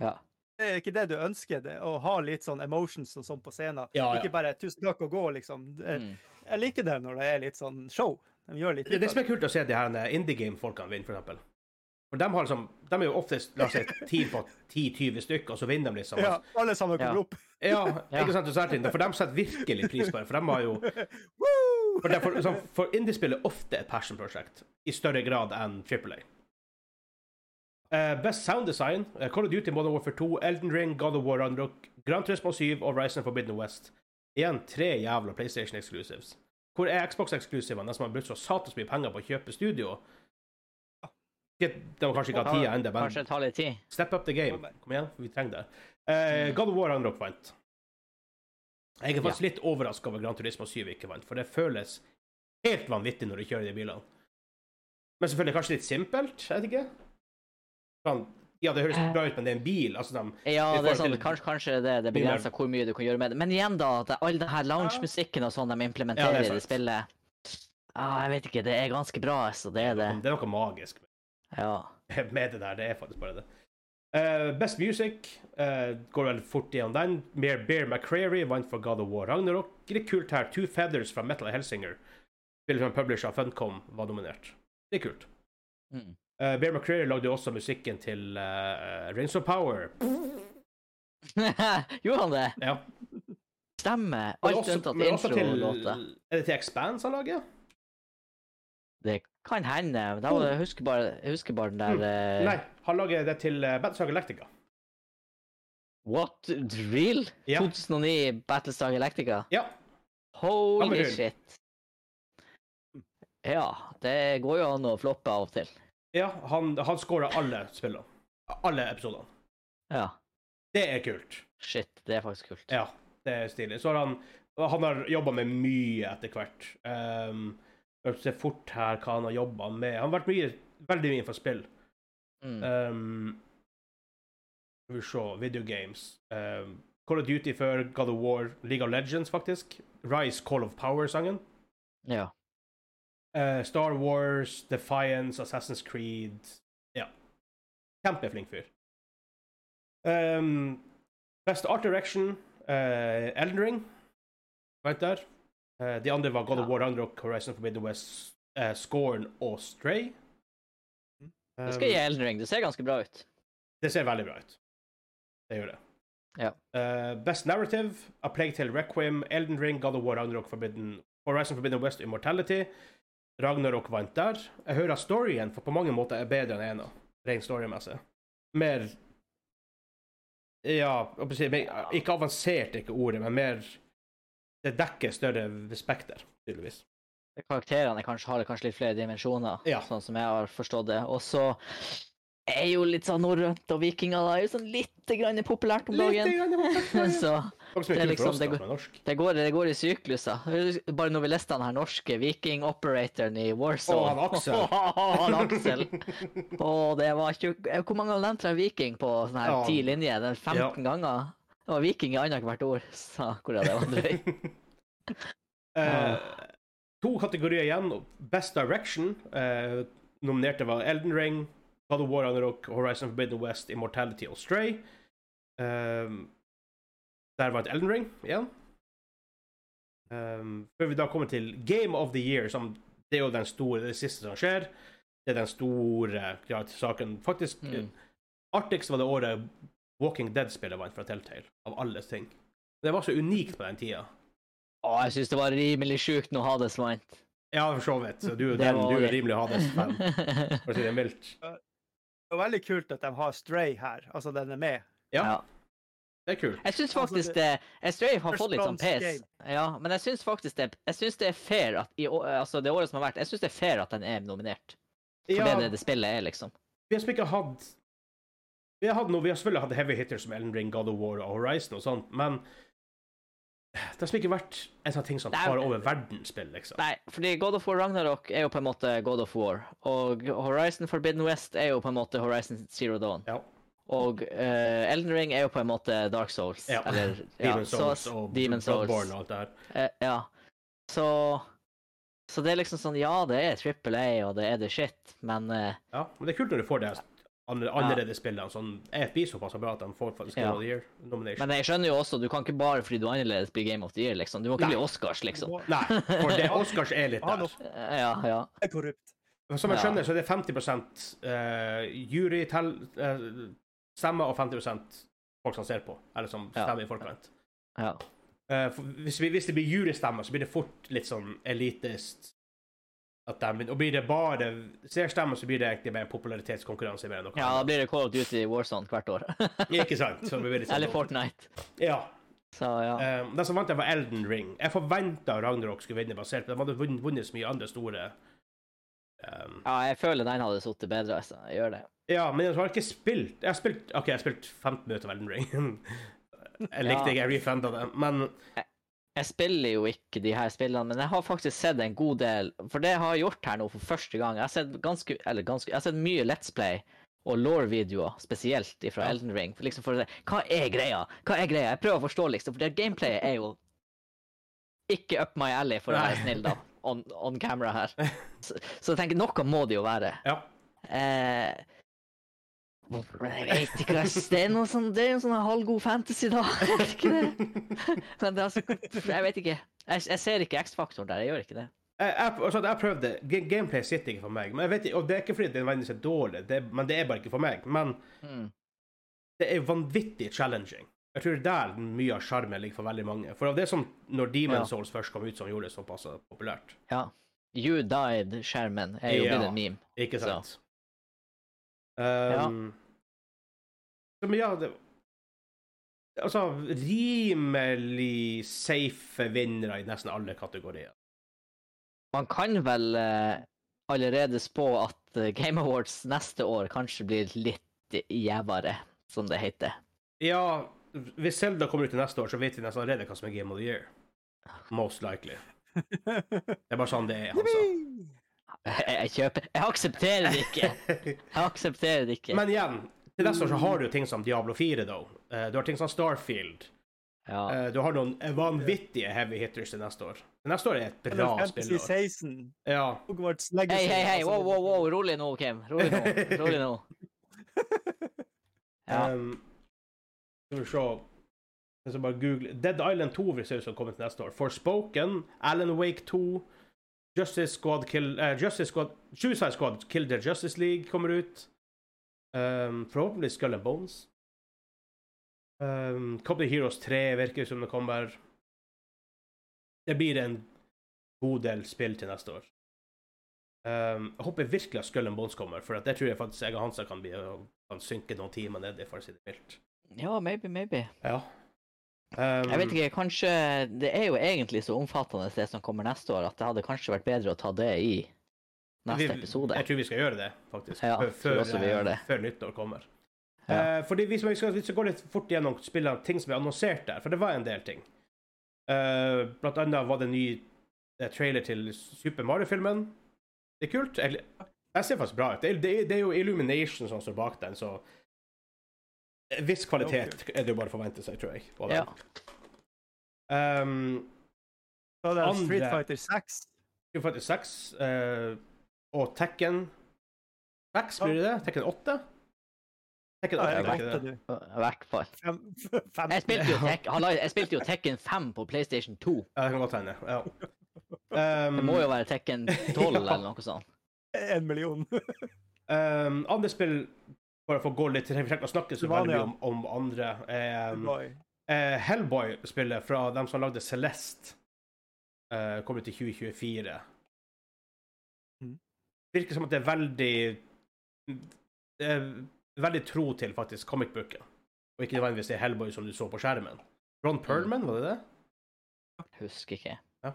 S2: ja.
S3: Det er ikke det du ønsker, det, å ha litt sånn emotions og sånn på scenen.
S1: Ja, ja.
S3: Ikke bare 'tusen takk og gå', liksom. Det-
S2: Mm.
S3: Jeg liker det når det er litt sånn show. De gjør litt
S1: Det, det som er kult å se de her eh, Indie Game-folkene vinne, for eksempel. For de, har liksom, de er jo oftest la oss si, et team på 10-20 stykker, og så vinner de liksom.
S3: Ja, alle sammen kommer
S2: Ja.
S3: opp.
S1: Ja,
S2: Ja.
S1: ikke sant? og særlig, For de setter virkelig pris på det. For de har jo
S3: Woo!
S1: For, det, for, sånn, for indiespill er ofte et passion-prosjekt, i større grad enn AAA. Eh, best Sound Design, eh, Call of Duty Modern Warfare 2, Elden Ring, God of War Unrock, Grand Turismo 7 og Horizon Forbidden West. Igjen tre jævla PlayStation Exclusives. Hvor er Xbox-eksklusivene, de som har brukt så satans mye penger på å kjøpe studio? De de har kanskje ikke hatt tida ennå, men
S2: Kanskje det tar litt tid.
S1: step up the game. Kom igjen, vi trenger det. Eh, God of War Unrock vant. Jeg er faktisk litt overraska over Grand Turismo 7 ikke vant, for det føles helt vanvittig når du kjører de bilene. Men selvfølgelig kanskje litt simpelt, jeg vet ikke. Sånn, ja, det høres bra ut, men det er en bil. Altså, de, I
S2: Ja, det er
S1: forhold
S2: sånn,
S1: til-
S2: kanskje, kanskje det, det
S1: Mye mer.
S2: begrenser hvor mye du kan gjøre med det. Men igjen, da, at all den her lounge-musikken og sånn de
S1: Ja,
S2: implementerer
S1: det er
S2: i det
S1: sant.
S2: spillet ah, Jeg vet ikke, det er ganske bra, altså. Det er det.
S1: det er noe magisk
S2: Ja.
S1: med det der. Det er faktisk bare det. Eh, best Music eh, går vel fort igjen den. Mer Bear McCreary vant for God of War Ragnarok. Litt kult her. Two Feathers fra Metal Helsinger, spillet som publisher av Funcom, var nominert. Det er kult.
S2: Mm.
S1: Uh, Bear McCreary lagde jo også musikken til eh, Rings of Power.
S2: Gjorde han det?
S1: Ja. Men
S2: Stemmer. Alt
S1: også-
S2: unntatt
S1: men også til-
S2: intro-låta.
S1: Er det til Expanse han lager?
S2: Det kan hende. men Da var det- jeg husker bare, jeg husker bare den der eh,
S1: Hm. Nei, han lager det til uh, Battlestar Galactica.
S2: What? Real?
S1: Ja.
S2: 2009 Battlestar Galactica?
S1: Ja. Gammel
S2: Holy
S1: film.
S2: shit. Ja, det går jo an å floppe av og til.
S1: ja han han scorer alle spillene. Alle episodene.
S2: Ja.
S1: Det er kult.
S2: Shit, det er faktisk kult.
S1: Ja, det er stilig. Så har han Han har jobba med mye etter hvert. Um, Se fort her hva han har jobba med. Han har vært mye, veldig mye for spill.
S2: Mm.
S1: Um, skal vi se Video games. Um, Call of Duty før God of War, League of Legends, faktisk. Rise Call of Power-sangen.
S2: Ja.
S1: Eh, Star Wars, Defiance, Assassin's Creed Ja. Kjempeflink fyr. Um, best Art Direction, eh, Elden Ring. Vent der. Eh, de andre var God of
S2: Ja.
S1: War, Ragnarok, Horizon Forbidden West, eh, Scorn og Stray.
S2: Det skal
S1: Um,
S2: gi Elden Ring. Det ser ganske bra ut.
S1: Det ser veldig bra ut. Det gjør det.
S2: Ja.
S1: Eh, best Narrative, A Plague Tale Requiem, Elden Ring, God of War, Ragnarok Forbidden, Horizon Forbidden West, Immortality. Ragnarok vant der. Jeg hører at storyen for på mange måter er bedre enn ena, rent storymessig. Mer Ja, hva skal jeg si, mer- ikke avansert er ikke ordet, men mer Det dekker større spekter, tydeligvis.
S2: Karakterene kanskje har kanskje litt flere dimensjoner,
S1: Ja.
S2: sånn som jeg har forstått det. Og så er jo litt sånn norrønt og vikinger da, er jo sånn litt grann populært om dagen.
S1: Det
S2: Så det
S1: er
S2: er liksom-
S1: liksom
S2: det går-
S1: norsk.
S2: det går, det går i sykluser. Bare novelistene her, norske viking-operatoren i Warsaw.
S1: Å, han Aksel.
S2: han Aksel. Og det var ikke Hvor mange av dem tror jeg er viking på sånne her
S1: Ja.
S2: ti linjer? Det er 15 ganger. Det var viking i annethvert ord. Så hvordan det var drøyt.
S1: Eh,
S2: Ah.
S1: to kategorier igjen. Best Direction. eh, nominerte var Elden Ring, God of War, Ragnarok, Horizon Forbidden West, Immortality og Stray. Um, der vant Elden Ring igjen. Um, før vi da kommer til Game of the Year, som det er jo den store, det siste som skjer. Det er den store ja, saken. Faktisk,
S2: Mm.
S1: eh, artigst var det året Walking Dead-spillet vant fra Telltale, av alle ting. Det var så unikt på den tida.
S2: Å, jeg syns det var rimelig sjukt når Hades vant.
S1: Ja, for så vidt. Så Du,
S2: Det
S1: den,
S2: var
S1: du er
S2: det.
S1: rimelig Hades-fan, for å si det mildt.
S3: Det er veldig kult at de har Stray her, altså den er med.
S1: Ja.
S2: Ja.
S1: Det er kult.
S2: Jeg syns
S3: Altså,
S2: faktisk
S3: det-
S2: det Jeg Strafe har fått litt sånn
S3: Response
S2: pes. Ja, men jeg syns faktisk det Jeg synes det er fair at i å- Altså, det året som har vært, jeg syns det er fair at den er nominert. For det er det det spillet er, liksom.
S1: vi har som ikke hatt Vi har hatt noe, vi har selvfølgelig hatt heavy hitters som Elden Ring, God of War og Horizon og sånt, men det har som ikke vært en sånn ting som
S2: Det er-
S1: tar over verdensspill, liksom.
S2: Nei, fordi God of War Ragnarok er jo på en måte God of War. Og Horizon Forbidden West er jo på en måte Horizon Zero Dawn.
S1: Ja.
S2: Og eh, Elden Ring er jo på en måte Dark Souls.
S1: Ja.
S2: Eller ja,
S1: Demon's
S2: så-
S1: Souls og
S2: Demon's Souls.
S1: Bloodborne og alt det her.
S2: Eh, ja. Så Så det er liksom sånn Ja, det er Triple A, og det er the shit, men eh,
S1: Ja, men det er kult når du får det andre- annerledes spillene. Sånn, jeg blir såpass bra at de får faktisk Game
S2: Ja.
S1: of the Year nomination.
S2: Men jeg skjønner jo også, du kan ikke bare fordi du er annerledes bli Game of the Year, liksom. Du må ikke
S1: Nei.
S2: bli Oscars, liksom. Eh,
S1: Nei, for det Oscars er litt
S3: Ja,
S1: der.
S3: nå-
S2: Ja, ja.
S3: Det er korrupt.
S1: Men Som jeg
S2: Ja.
S1: skjønner, så er det 50 eh, jury tell, eh, stemmer og 50 folk som ser på, eller som
S2: Ja.
S1: stemmer i forkant.
S2: ja.
S1: Eh, for hvis, vi, hvis det blir jurystemmer, så blir det fort litt sånn elitist. At de, og blir det bare seerstemmer, så blir det egentlig bare en popularitetskonkurranse. Mer enn noe
S2: ja, da
S1: annet.
S2: blir det Call of Duty Warzone hvert år.
S1: Ikke sant? Så det blir litt sånn,
S2: Eller Fortnite.
S1: Ja.
S2: Så ja.
S1: Eh, den som vant, det var Elden Ring. Jeg forventa Ragnarok skulle vinne, basert på De hadde vunnet, vunnet så mye andre store eh,
S2: Ja, jeg føler den hadde sittet bedre, altså. Jeg gjør det.
S1: Ja, men jeg har ikke spilt Jeg har spilt OK, jeg har spilt 15 minutter av Elden Ring. jeg likte
S2: Ja.
S1: ikke, jeg refunda det. Men
S2: Jeg spiller jo ikke de her spillene, men jeg har faktisk sett en god del. For det jeg har gjort her nå for første gang, jeg har sett ganske, eller ganske, jeg har sett mye Let's Play og Law-videoer, spesielt fra
S1: Ja.
S2: Elden Ring. For liksom for, å se, hva er greia? Hva er greia? Jeg prøver å forstå, liksom, for det gameplayet er jo ikke up my alley, for å
S1: Nei.
S2: være snill, da, on, on camera her. Så, så jeg tenker, noe må det jo være.
S1: ja.
S2: Eh, jeg vet ikke, ass. Det er noe sånn, det er jo sånn halvgod fantasy, da. Er det ikke det? Men det er altså, jeg vet ikke. Jeg, jeg ser ikke X-faktoren der, jeg gjør ikke det.
S1: Jeg, jeg, altså, jeg prøvde. Ga- Gameplay sitter ikke for meg. Men jeg vet, ikke- og det er ikke fordi det nødvendigvis er dårlig, det, er- men det er bare ikke for meg. Men
S2: Mm.
S1: det er vanvittig challenging. Jeg tror det er der mye av sjarmen ligger for veldig mange. For det er som når Demon
S2: Ja.
S1: Souls først kom ut, som gjorde det såpass populært.
S2: Ja. You died-skjermen er jo
S1: Ja.
S2: blitt en meme.
S1: Ikke
S2: Så.
S1: sant? Um, så, Men ja, det Altså, rimelig safe vinnere i nesten alle kategorier.
S2: Man kan vel eh, allerede spå at eh, Game Awards neste år kanskje blir litt gjevere, som det heter.
S1: Ja, hvis Zelda kommer ut til neste år, så vet vi nesten allerede hva som er Game of the Year. Most likely. Det er bare sånn det er, altså.
S2: Jeg, jeg kjøper Jeg aksepterer det ikke! Jeg aksepterer det ikke.
S1: Men igjen, til neste år så har du jo ting som Diablo 4, though. Eh, Du har ting som Starfield.
S2: Ja.
S1: Eh, Du har noen vanvittige heavy hitters til neste år. Men Neste år er et
S3: Final
S1: bra
S3: Fantasy
S1: spillår.
S3: 16,
S1: Ja.
S3: Hogwarts Legacy
S2: Hei, hei, hei!
S3: altså,
S2: Wow, wow, wow! Rolig nå, Kim. Rolig nå. Rolig nå. Ja.
S1: Um, skal vi se Jeg skal bare google Dead Island 2 vil se ut som kommer til neste år. Forspoken, Alan Wake 2, Justice Squad Kill eh, Justice Squad Suicide Squad Kill the Justice League kommer ut. Um, forhåpentligvis Skull and Bones. Um, Copy Heroes 3 virker som det kommer. Det blir en god del spill til neste år. Um, jeg håper virkelig at Skull and Bones kommer, for at det tror jeg faktisk jeg og Hansa kan, bli, kan synke noen timer ned i, for å si det mildt.
S2: ja, maybe, maybe.
S1: Ja. Um,
S2: Jeg vet ikke, kanskje Det er jo egentlig så omfattende det som kommer neste år, at det hadde kanskje vært bedre å ta det i
S1: Um,
S2: neste
S1: vi-
S2: episode.
S1: Jeg tror vi skal gjøre det, faktisk.
S2: Ja,
S1: før,
S2: jeg tror også vi gjør det.
S1: før nyttår kommer.
S2: Ja.
S1: Eh, fordi hvis vi skal, hvis vi går litt fort gjennom spillene, ting som er annonsert der, for det var en del ting. Eh, blant annet var det en ny eh, trailer til Super Mario-filmen. Det er kult. Jeg, jeg ser faktisk bra ut. Det, er- det, er- det er jo Illumination som står bak den, så en Viss kvalitet er det jo bare å forvente seg, tror jeg. på den.
S2: Ja.
S1: Ehm,
S3: Så det er
S1: Andre.
S3: Street Fighter 6.
S1: Street Fighter 6 eh, og Tekken 6, blir det det? Tekken 8? Tekken
S3: Ja,
S1: 8
S3: jeg
S1: blir ikke
S3: glemte
S1: det.
S3: det.
S2: I hvert fall.
S3: Fem, fem.
S2: Jeg spilte, jo Tek Halloi, jeg spilte jo Tekken 5 på PlayStation 2.
S1: Ja, det kan godt hende. Ja. Um,
S2: Det må jo være Tekken 12
S1: Ja.
S2: eller noe sånt.
S3: En million.
S1: um, andre spill, bare for å gå litt til Vi trenger ikke å snakke så veldig mye om, om andre. Um,
S3: Boy.
S1: eh, Hellboy-spillet fra dem som lagde Celeste, eh, kommer til 2024.
S3: Mhm.
S1: Virker som at det er veldig det er Veldig tro til faktisk comic-booken. Og ikke nødvendigvis det Hellboy som du så på skjermen. Ron Perlman, var det det?
S2: Husker ikke.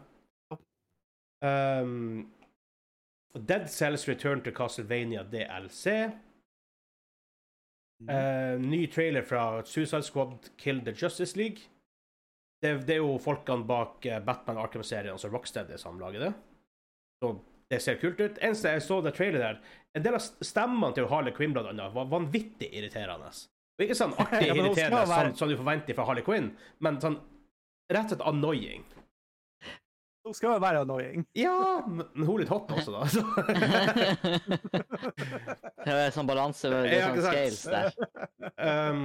S1: Um, Dead Cells Return to Castlevania DLC. Eh, ny trailer fra Suicide Squad Kill the Justice League. Det, det er jo folkene bak eh, Batman Arkham-serien, altså Rocksteady, som lager det. Så det ser kult ut. Eneste jeg så det trailer der, en del av st- stemmene til Harley Quinn blant annet, var vanvittig irriterende. Og ikke sånn artig
S3: Ja, men hun skal
S1: irriterende
S3: være-
S1: sånn, som du forventer fra Harley Quinn, men sånn rett og slett annoying.
S3: Hun skal jo være annoying.
S1: Ja, men men hun er litt hot også, da. Så.
S2: det er sånn balanse, det er
S1: Ja,
S2: sånn
S1: ikke sant?
S2: scales der.
S1: um,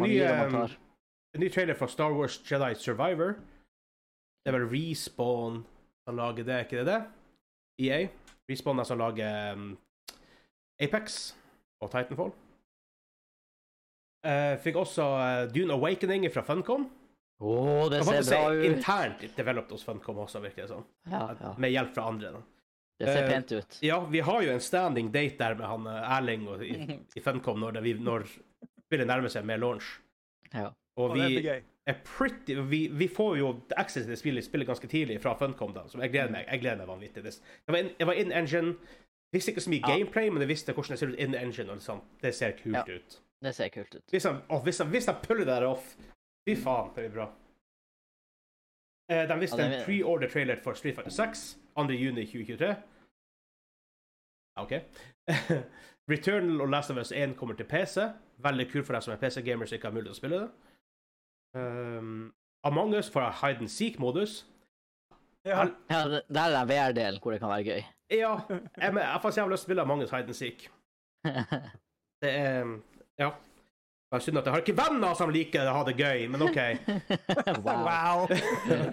S2: Man
S1: ny,
S2: gir og man
S1: um,
S2: tar.
S1: En ny trailer fra Star Wars Jedi Survivor. Det er vel Respawn som lager det, er ikke det det? EA. Respawn er som lager um, Apex og Titanfall. Eh, fikk også eh, Dune Awakening fra Funcom.
S2: Å, det
S1: Kan
S2: ser
S1: faktisk
S2: bra
S1: si
S2: ut.
S1: Internt developed hos Funcom også, virker det som.
S2: Ja, ja.
S1: Med hjelp fra andre. Da.
S2: Det ser
S1: Eh,
S2: pent ut.
S1: Ja, vi har jo en standing date der med han eh, Erling og, i, i Funcom når, det, vi, når spillet nærmer seg med launch.
S2: Ja.
S1: Og
S3: Og det
S1: vi,
S3: blir gøy.
S1: er pretty Vi, vi får jo access til det spillet, spillet ganske tidlig fra Funcom, da, som jeg gleder meg Jeg gleder meg vanvittig. Det det var in, det var in engine. Visste ikke så mye
S2: Ja.
S1: gameplay, men jeg visste hvordan det ser ut in engine. og liksom, Det ser kult
S2: Ja.
S1: ut.
S2: Det ser kult ut.
S1: Hvis de, Liksom, å, hvis de, hvis de puller det der off, fy faen, det blir bra. Eh, de visste
S2: Ja, det
S1: en
S2: vil-
S1: pre-order trailer for Street Fighter 6 2.6.2023. Ja, OK. Returnal og Last of Us 1 kommer til PC. Veldig kult for dem som er PC-gamers og ikke har mulighet til å spille det. Um, Among Us får en hide and seek-modus.
S3: Ja.
S1: Al-
S2: Ja, det- der er den VR-delen hvor det kan være gøy.
S1: Ja, jeg, men jeg får så jævlig lyst til å spille Among Us hide and seek. Det er Ja. Det er synd at jeg har ikke venner som liker å ha det gøy, men OK.
S2: wow.
S3: Wow.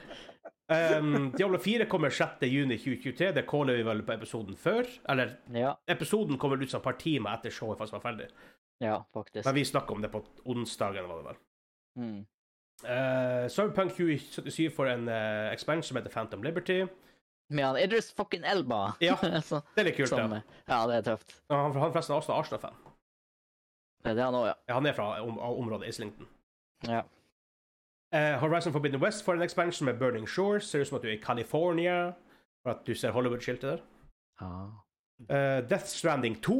S1: Um, Diablo 4 kommer 6. juni 2023. Det caller vi vel på episoden før. Eller,
S2: Ja,
S1: episoden kommer ut som et par timer etter showet faktisk var ferdig.
S2: ja, faktisk.
S1: Men vi snakker om det på onsdagen, var det vel.
S2: Mm.
S1: Uh, Cyberpunk 2077 får en uh, expansion som heter Phantom Liberty.
S2: Med han Idris fucking Elba.
S1: Ja,
S2: Så,
S1: det er litt kult,
S2: som,
S1: ja.
S2: ja, det er tøft.
S1: Han, han forresten er også Arsenal-fan.
S2: Det er det han òg, ja.
S1: Ja, Han er fra om, området Islington.
S2: ja.
S1: Eh, Horizon Forbidden West får en expansion med Burning Shores. Ser ut som at du er i California, for at du ser Hollywood-skiltet der. Eh, Death Stranding 2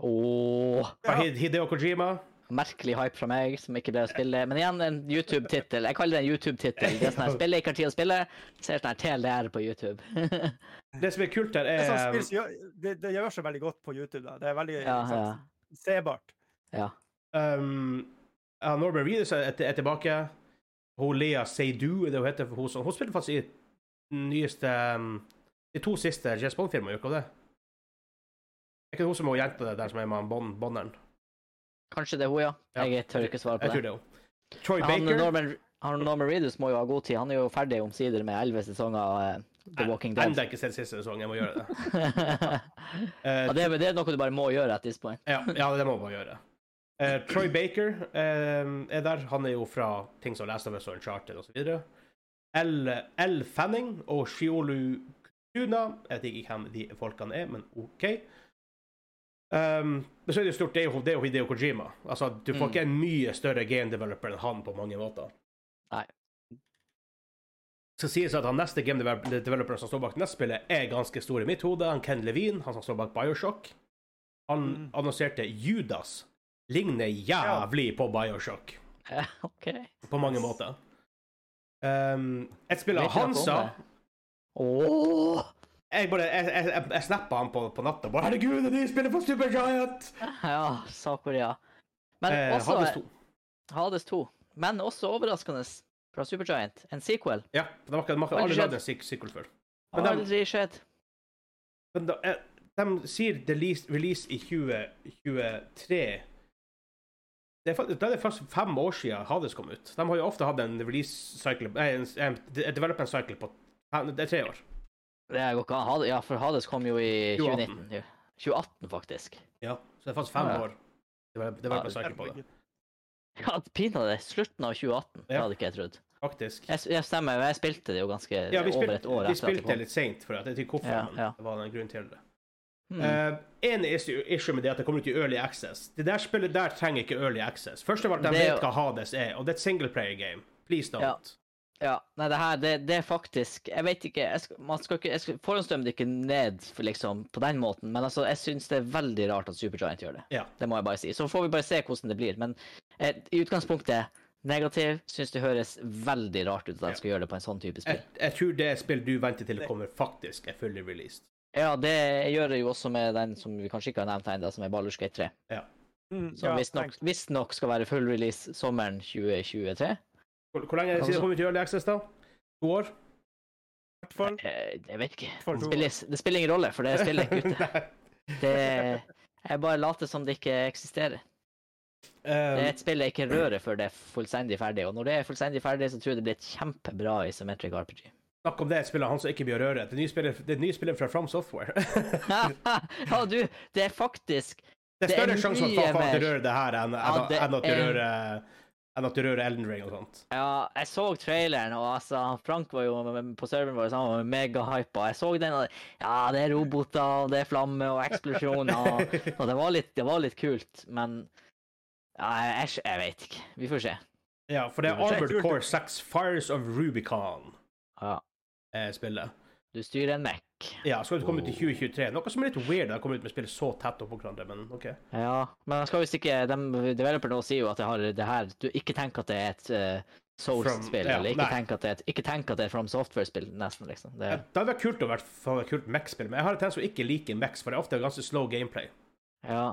S2: Åh,
S1: fra
S3: Ja.
S1: Hid- Hideo Kojima.
S2: merkelig hype fra meg som ikke ble å spille. Men igjen, en YouTube-tittel. Jeg kaller det en YouTube-tittel. Det er sånn her spillet jeg ikke har tid å spille. Ser sånn her TLDR på YouTube.
S1: Det som er kult her,
S3: Det, er sånn
S1: er
S3: spill som gjør- det, det gjør seg veldig godt på YouTube. da. Det er veldig
S2: ja, ja.
S3: sånn, sebart.
S1: Um, ja, Norbert Reedus er, er tilbake. Hun Lea Seydoux, er det hun heter. Hun, som- hun spilte faktisk i den nyeste um, De to siste James Bond-filmene, gjør hun ikke det? Er ikke det hun som er hun jenta der som er med han Bond, Bonderen?
S2: Kanskje det er hun, ja.
S1: Ja,
S2: Jeg tør ikke svare
S1: Jeg
S2: på
S1: tror det
S2: det.
S1: er hun. Troy
S2: Han
S1: Baker.
S2: Norman, han Norman Reedus må jo ha god tid. Han er jo ferdig omsider med elleve sesonger av eh, The Walking Dead.
S1: Enda ikke sett siste sesong, jeg må gjøre det.
S2: ja,
S1: Eh,
S2: det, er- det er noe du bare må gjøre at this point.
S1: ja, ja, det må man gjøre. Eh, Troy Baker eh, er der. Han er jo fra ting som Last of Us og Uncharted osv. L, L. Fanning og Shiolu Kuna. Jeg vet ikke hvem de folkene er, men OK. Um, men så er det jo stort, det er jo, det er jo Hideo Kojima. Altså, Du får
S2: Mm.
S1: ikke en mye større game developer enn han på mange måter.
S2: Nei.
S1: Så sies at han neste game develop- developer som står bak neste spillet, er ganske stor i mitt hode. Han Ken Levine, han som står bak Bioshock. Han
S3: Mm.
S1: annonserte Judas ligner jævlig på Bioshock.
S2: Eh, OK.
S1: På mange måter. Um, et spill av
S2: Vet dere noe om
S1: Hansa
S2: det? Åh!
S1: Jeg bare, jeg, jeg, jeg, jeg snappa han på, på natta. Bare, Herregud, de spiller for Supergiant!
S2: Ja, Sa-Korea. Men
S1: Eh,
S2: også
S1: Hades 2.
S2: Hades 2. Men også overraskende fra Supergiant. En sequel.
S1: Ja, for de har ikke- de har ikke
S2: Aldri
S1: aldri
S2: skjedd.
S1: lagd en sequ- sequel før. Men de-
S2: Aldri skjedd.
S1: Men da, eh, de sier release, release i 2023. Det er, fa- da er det først fem år siden Hades kom ut. De har jo ofte hatt en release cycle Nei, en, en, en development cycle på fem- det er tre år.
S2: Det går ikke an. Hades- Ja, for Hades kom jo i
S1: 2018.
S2: 2019. jo. 2018, faktisk.
S1: Ja, så det er faktisk fem
S2: Ja.
S1: år. Det var, det var
S2: Ja,
S1: en cycle på det,
S2: Ja, pinadø. Slutten av 2018. Det
S1: Ja.
S2: hadde ikke jeg trodd.
S1: faktisk.
S2: Jeg, jeg stemmer, jeg spilte det jo ganske
S1: Ja, vi
S2: over
S1: spilte,
S2: et år
S1: vi
S2: etter at det
S1: spilte
S2: kom.
S1: litt seint, for at jeg vet ikke hvorfor,
S2: Ja, Hmm.
S1: men
S2: ja.
S1: det var en grunn til det. Én issue, issue med det er at det kommer ut i early access. Det der spillet der trenger ikke early access. Først av alt, de
S2: Det er
S1: vet
S2: jo-
S1: hva Hades er, og det er et singleplayer game. Please don't.
S2: Ja. Ja, nei, det her, det, det er faktisk Jeg vet ikke jeg skal, Man skal ikke jeg skal, Forhåndsdømme det ikke ned for liksom, på den måten, men altså, jeg syns det er veldig rart at Supergiant gjør det.
S1: Ja.
S2: Det må jeg bare si. Så får vi bare se hvordan det blir. Men eh, i utgangspunktet negativ. Syns det høres veldig rart ut at
S1: Ja.
S2: de skal gjøre det på en sånn type
S1: Jeg,
S3: Eh.
S2: spill.
S1: jeg tror det spill du venter til kommer, faktisk er fully released.
S2: Ja, det gjør det jo også med den som vi kanskje ikke har nevnt ennå, som er Baldur's Gate 3.
S3: Mm,
S2: Som
S3: ja,
S2: visstnok
S3: tenk.
S2: visst nok skal være full release sommeren 2023.
S1: Hvor, hvor lenge er det siden det kom ut i early access, da? To år?
S3: I hvert fall.
S2: Eh, Jeg vet ikke.
S3: For
S2: Det
S3: to år.
S2: spiller, det spiller ingen rolle, for det spiller ikke ute.
S1: Nei.
S2: Det, jeg bare later som det ikke eksisterer. Det er
S1: Eh,
S2: et spill jeg ikke rører før det er fullstendig ferdig. Og når det er fullstendig ferdig, så tror jeg det blir et kjempebra isometric RPG.
S1: snakk om det spillet han som ikke blir å røre. Det nye spillet, det nye spillet fra From Software.
S2: ja, du, det er faktisk
S1: Det er
S2: Det er
S1: større sjanse for
S2: mye
S1: at faen
S2: mer.
S1: til rører det her enn
S2: Ja,
S1: enn-
S2: det
S1: enn at du
S2: er-
S1: rører eh, enn at du rører Elden Ring og sånt.
S2: Ja, jeg så traileren, og altså, han Frank var jo på serveren vår, så han var megahypa. Jeg så den, og ja, det er roboter, og det er flammer og eksplosjoner, og, og det, var litt, det var litt kult, men ja, jeg, jeg, jeg vet ikke. Vi får se.
S1: Ja, for det er
S2: Det er
S1: Armored
S3: kult.
S1: Core 6 Fires of Rubicon
S2: Ja,
S1: eh, spillet.
S2: du styrer en Mac.
S1: Ja, skal det komme ut i 2023. Noe som er litt weird, å komme ut med spill så tett oppå hverandre, men OK.
S2: Ja, men han skal visst ikke de, Developeren nå sier jo at det har det her Du ikke tenk at det er et eh, Souls-spill,
S1: From- ja,
S2: eller ikke
S1: nei.
S2: tenk, at det er et, ikke tenk at det er From Software-spill, nesten, liksom. Det,
S1: Det hadde vært kult å være for et kult Max-spill, men jeg har en tendens til å ikke like Max, for det er ofte ganske slow gameplay.
S2: ja.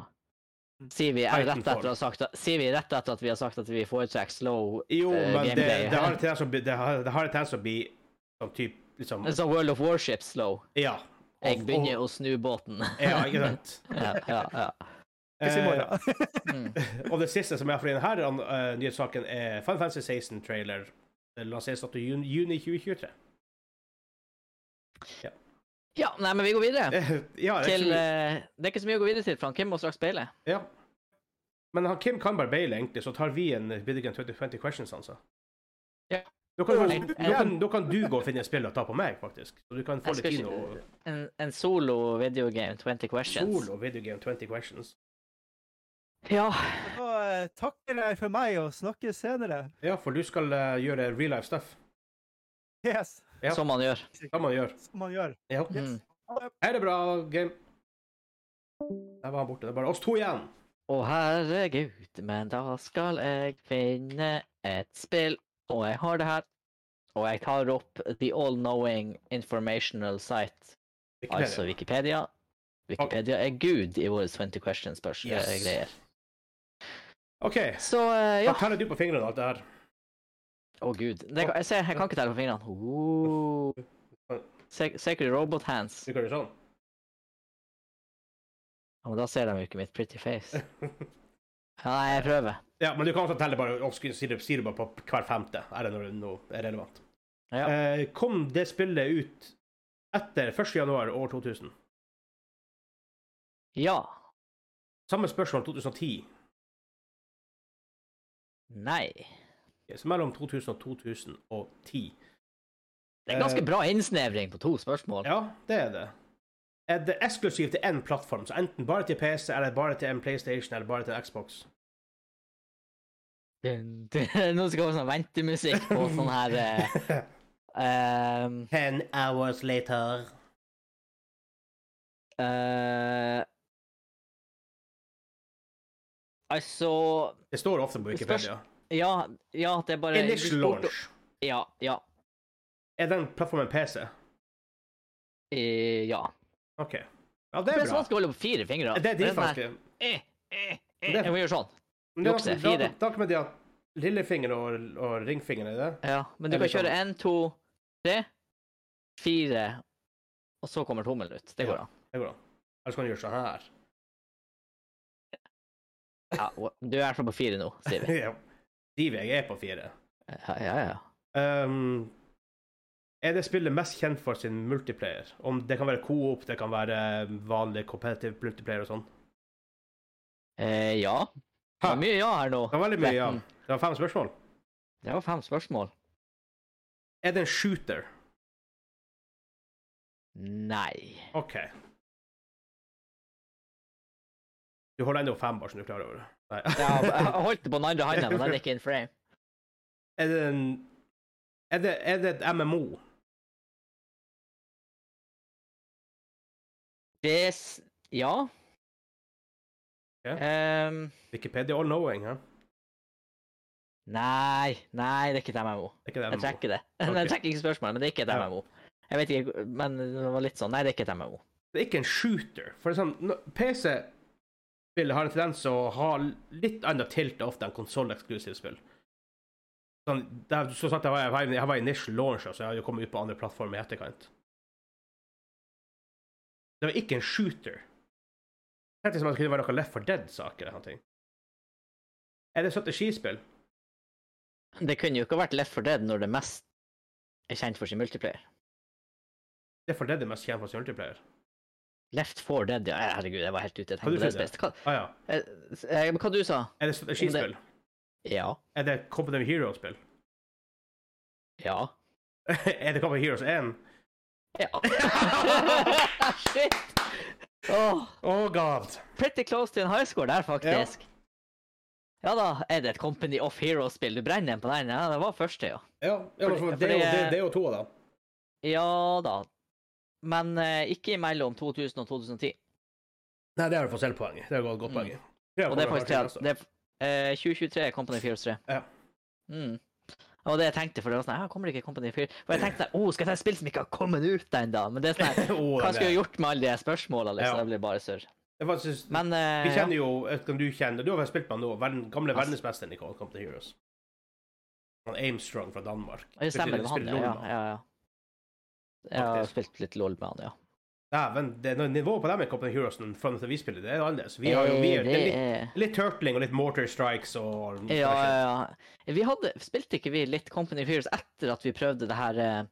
S2: Sier vi, eh, rett
S1: Titanfall.
S2: etter å ha sagt, at- sier vi rett etter at vi har sagt at vi foretrekker slow
S1: Jo,
S2: eh,
S1: men det,
S2: gameplay?
S1: det har en tendens til å bli- det har- det har en tendens til å bli sånn type liksom
S2: Det er sånn World of Warships-slow.
S1: Ja.
S2: Jeg
S1: Og-
S2: begynner
S1: og-
S2: å snu båten.
S1: Ja, ikke sant?
S2: ja, ja, ja.
S3: Ikke si
S1: Eh,
S3: morgen.
S2: Mm.
S1: Og det siste som jeg har for denne uh, nyhetssaken, er Final Fantasy 16-trailer. Lanseres til juni, juni 2023.
S2: ja, nei, men vi går videre.
S1: Eh, ja, det er
S2: Til,
S1: ikke så mye-
S2: eh, det er ikke så mye å gå videre til, Frank. Kim må straks speile.
S1: ja. Men han Kim kan bare baile, egentlig, så tar vi en Bidigan 2020 Questions, altså.
S2: Ja.
S1: Da kan,
S2: Jeg-
S1: da,
S2: jeg-
S1: kan, da kan du gå og finne et spill og ta på meg, faktisk. Så du kan få litt
S2: Jeg skal
S1: tid
S2: ikke-
S1: og
S2: En, en solo videogame, 20 questions.
S1: solo videogame 20 questions.
S2: Ja,
S3: Da eh, takker jeg for meg og snakkes senere.
S1: Ja, for du skal eh, gjøre real life stuff.
S3: Yes,
S1: Ja.
S2: som man gjør.
S1: Det kan man gjøre.
S3: som man gjør.
S1: Ja.
S2: Mm.
S1: Er det bra, game? Der var han borte. Det er bare oss to igjen.
S2: Å herregud, men da skal jeg finne et spill, og jeg har det her. Og jeg tar opp The All-Knowing Informational Site,
S1: Ikke mer.
S2: altså Wikipedia. Wikipedia er gud i våre 20
S1: Yes.
S2: questions-greier.
S1: OK.
S2: Så eh,
S1: Hva
S2: ja.
S1: teller du på fingrene og alt det her?
S2: Å gud. Det, kan- jeg, ser, jeg kan ikke telle på fingrene. Oh. Se- Secret Robot Hands.
S1: Du kan gjøre sånn.
S2: Ja, men da ser de jo ikke mitt pretty face. Ja, nei, jeg prøver.
S1: Ja, men du kan også telle bare oppskrift, sier det- sier det bare på hver femte. Er det når det nå er relevant?
S2: Ja.
S1: Eh, kom det spillet ut etter 1. januar år 2000?
S2: Ja.
S1: Samme spørsmål 2010.
S2: Nei.
S1: Så mellom 2000 og 2010.
S2: Det er ganske bra innsnevring på to spørsmål.
S1: Eh. Ja, det er det. Er det eksklusivt til én plattform? Så enten bare til PC, eller bare til en PlayStation, eller bare til en Xbox?
S2: Dun, dun. Nå skal vi ha sånn ventemusikk på sånn her eh, ehm,
S1: Ten hours later.
S2: eh, Altså
S1: Det står ofte på Wikipedia.
S2: Ja, ja, det er bare eh, du
S1: Initial
S2: spurte-
S1: launch.
S2: Ja. Ja.
S1: Er den plattformen PC?
S2: eh, ja.
S1: OK. Ja, det
S2: Det
S1: er
S2: er så
S1: bra.
S2: vanskelig å holde på fire fingre.
S1: Det er
S2: Det er
S1: de
S2: sånn her,
S1: faktisk.
S2: eh, eh, eh,
S1: Det er-
S2: Jeg må gjøre sånn.
S1: Men det er
S2: Jukse,
S1: noe- da-
S2: fire.
S1: Da kan man si at lillefingeren og, og ringfingeren er det.
S2: Ja, men du
S1: Eller
S2: kan kjøre
S1: sånn.
S2: én, to, tre, fire, og så kommer tommelen ut. Det
S1: Ja.
S2: går an.
S1: Det går an. Eller så kan du gjøre sånn her.
S2: Ja, du er i hvert fall på fire nå, sier vi.
S1: Ja. Sier jeg er på fire.
S2: Ja, ja, ja.
S1: Um, er det spillet mest kjent for sin multiplayer? Om det kan være co-op, det kan være ehm, vanlig competitive multiplayer og sånn.
S2: Eh, ja. Det
S1: Ha.
S2: var mye ja her nå.
S1: Det var veldig mye, ja.
S2: Tretten.
S1: Det var fem spørsmål.
S2: Det var fem spørsmål.
S1: Er det en shooter?
S2: Nei.
S1: OK. Du holder ennå fembar, som du klarer over. Nei.
S2: Ja, jeg holdt det på den andre handa, men den er ikke in frame.
S1: Er det en Er det, er det et MMO?
S2: Det er s- Ja.
S1: Ja.
S2: Ehm,
S1: Wikipedia all knowing, hæ?
S2: nei, nei, det er ikke et MMO.
S1: Er ikke det
S2: Jeg
S1: MMO?
S2: trekker det. Jeg trekker ikke spørsmålet, men det er ikke et
S1: Ja.
S2: MMO. Jeg vet ikke, men det var litt sånn Nei, det er ikke et MMO.
S1: Det er ikke en shooter. For det er sånn, når- PC-spill har en tendens til å ha litt annet tilt ofte enn konsoll-eksklusive spill. Sånn, det, er- så sant, jeg, var, jeg, var, i- jeg var i niche launcher, så jeg hadde jo kommet ut på andre plattformer i etterkant. Det var ikke en shooter. Tenk deg som om det kunne være noe Left for Dead-saker eller noe. sånt. Er det strategispill?
S2: Det kunne jo ikke vært Left for Dead når det mest er kjent for sin multiplayer.
S1: Left for Dead er mest kjent for sin multiplayer.
S2: Left 4 Dead, ja. Herregud, jeg var helt ute. Jeg
S1: Hva du
S2: tenkte på Dead
S1: trodde?
S2: Space. Hva,
S1: Ah, ja.
S2: eh, eh, hva du sa
S1: Er det strategispill?
S2: Ja.
S1: Er det Company Heroes-spill?
S2: Ja.
S1: er det Company Heroes 1?
S2: Ja. Shit! Åh,
S1: Oh god!
S2: pretty close til en high score der, faktisk. Ja. da, er det et Company of Heroes-spill? Du brenner en på den? Ja, det var første, ja.
S1: Ja, ja
S2: Fordi-
S1: for det,
S2: fordi-
S1: er jo- det, det er jo to av dem.
S2: Ja da. Men eh, ikke mellom 2000 og 2010.
S1: Nei, det har du fått selv poeng i. Det er et godt poeng altså. i.
S2: Mm. Og det er faktisk det. at- det er, eh, 2023 er Company 43.
S1: Ja.
S2: Mm. Det var det jeg tenkte, for det var sånn her, kommer det ikke Company 4? For jeg tenkte, oh, skal jeg ta et spill som ikke har kommet ut ennå? Men det er sånn her,
S1: Å,
S2: hva
S1: den
S2: skulle
S1: er-
S2: jeg gjort med alle de her spørsmålene, liksom?
S1: Ja.
S2: Det blir bare surr.
S1: det er faktisk,
S2: Men eh,
S1: vi kjenner jo, jeg vet ikke om du kjenner, du har vel spilt med han nå, verden, gamle
S2: Ass.
S1: verdensmesteren i Call of Duty Heroes. Han Aimstrong fra Danmark.
S2: ja, det stemmer det med han,
S1: Spilte
S2: ja.
S1: LOL
S2: ja,
S1: med han.
S2: ja, ja. Jeg har
S1: Faktisk.
S2: spilt litt LOL med han, ja.
S1: Dæven, det- når nivået på dem i Company Heroes enn fram til vi spiller, det er annerledes. Vi har jo
S2: Eh,
S1: vi, er- det er litt,
S2: er...
S1: litt turtling og litt mortar strikes og
S2: Ja, ja, ja. Vi hadde, spilte ikke vi litt Company Fears etter at vi prøvde det her eh,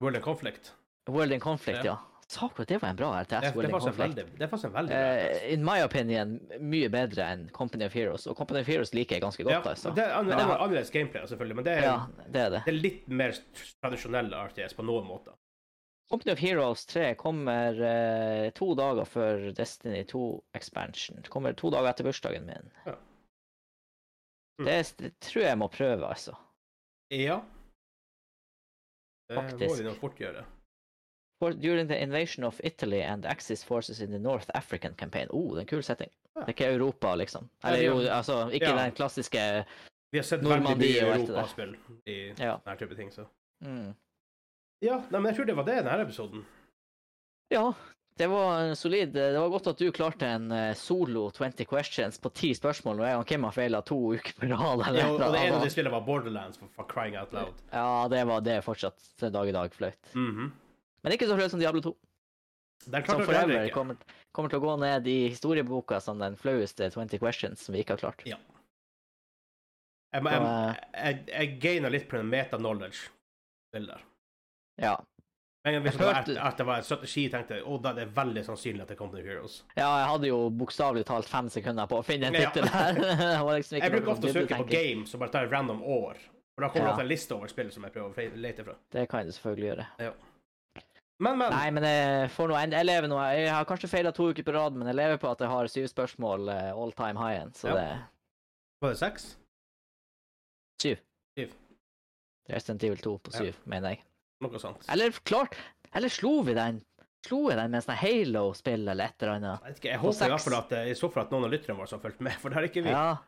S1: World of Conflict.
S2: World in Conflict, ja? Sakra, det var en bra RTS,
S1: Det, det, er
S2: World
S1: faktisk
S2: in
S1: en
S2: Conflict.
S1: veldig, det er faktisk en veldig bra
S2: Eh,
S1: plass.
S2: in my opinion, mye bedre enn Company of Heroes. Og Company of Heroes liker jeg ganske godt. altså.
S1: Ja, det er anner-
S2: Men det har-
S1: annerledes gameplay, selvfølgelig, men det er,
S2: ja, det er det.
S1: det er litt mer tradisjonelle RTS på noen måter.
S2: Company of Heroes 3 kommer eh, to dager før Destiny 2 Expansion. Det Kommer to dager etter bursdagen min.
S1: Ja. Mm.
S2: Det, s- det tror jeg må prøve, altså.
S1: Ja. Det må
S2: Faktisk.
S1: vi nå fort gjøre.
S2: For, during the invasion of Italy and the Axis forces in the North African campaign. Oh, det er en kul setting.
S1: Ja.
S2: Det er ikke Europa, liksom.
S1: Nei,
S2: Eller
S1: det er-
S2: jo, altså, ikke
S1: ja.
S2: den klassiske
S1: Vi har sett
S2: Normandie
S1: veldig mye
S2: og alt det der.
S1: europaspill i
S2: Ja.
S1: denne type ting, så
S2: Mm.
S1: Ja, nei, men jeg tror det var det i denne episoden.
S2: Ja, det var en solid. eh, Det var godt at du klarte en eh, solo 20 questions på ti spørsmål, og jeg og Kim har feila to uker på rad. eller
S1: Ja, og og
S2: et
S1: det
S2: eller
S1: ene av de
S2: annet.
S1: spillene var Borderlands, for, for crying out loud.
S2: Ja, det var det er fortsatt den dag i dag flaut.
S1: Mhm.
S2: Men ikke så flaut som Diablo 2,
S1: Den
S2: som
S1: klarte dere heller
S2: forever
S1: ikke.
S2: kommer, kommer til å gå ned i historieboka som den flaueste 20 questions som vi ikke har klart.
S1: Jeg, jeg, jeg, jeg gaina litt på den meta-knowledge. til der.
S2: Ja.
S1: Men hvis
S2: Jeg
S1: det var, at,
S2: følte-
S1: at det var en strategi, tenkte jeg å, da er det veldig sannsynlig at det kommer til Heroes.
S2: ja, jeg hadde jo bokstavelig talt fem sekunder på å finne en
S1: Ja.
S2: tittel her. Det var liksom ikke
S1: Jeg
S2: noe
S1: bruker ofte å søke på
S2: dybdetenking.
S1: games og bare ta et random år. For da kommer det
S2: Ja.
S1: ofte en liste over spill som jeg prøver å lete fra.
S2: Det kan du selvfølgelig gjøre.
S1: Men, men.
S2: Nei, men jeg får noe, jeg lever noe. Jeg har kanskje feila to uker på rad, men jeg lever på at jeg har syv spørsmål eh, all time high end, så
S1: Ja.
S2: det
S1: Var det seks?
S2: det er Resident Evil 2 på
S1: Ja.
S2: syv, mener jeg.
S1: Noe sånt.
S2: Eller klart Eller slo vi den? Slo jeg den med sånn Halo-spill eller et eller annet?
S1: Jeg vet ikke, jeg
S2: På
S1: håper i hvert
S2: seks.
S1: fall at, eh, i så fall at noen av lytterne våre som har fulgt med, for det har ikke vi.
S2: Ja.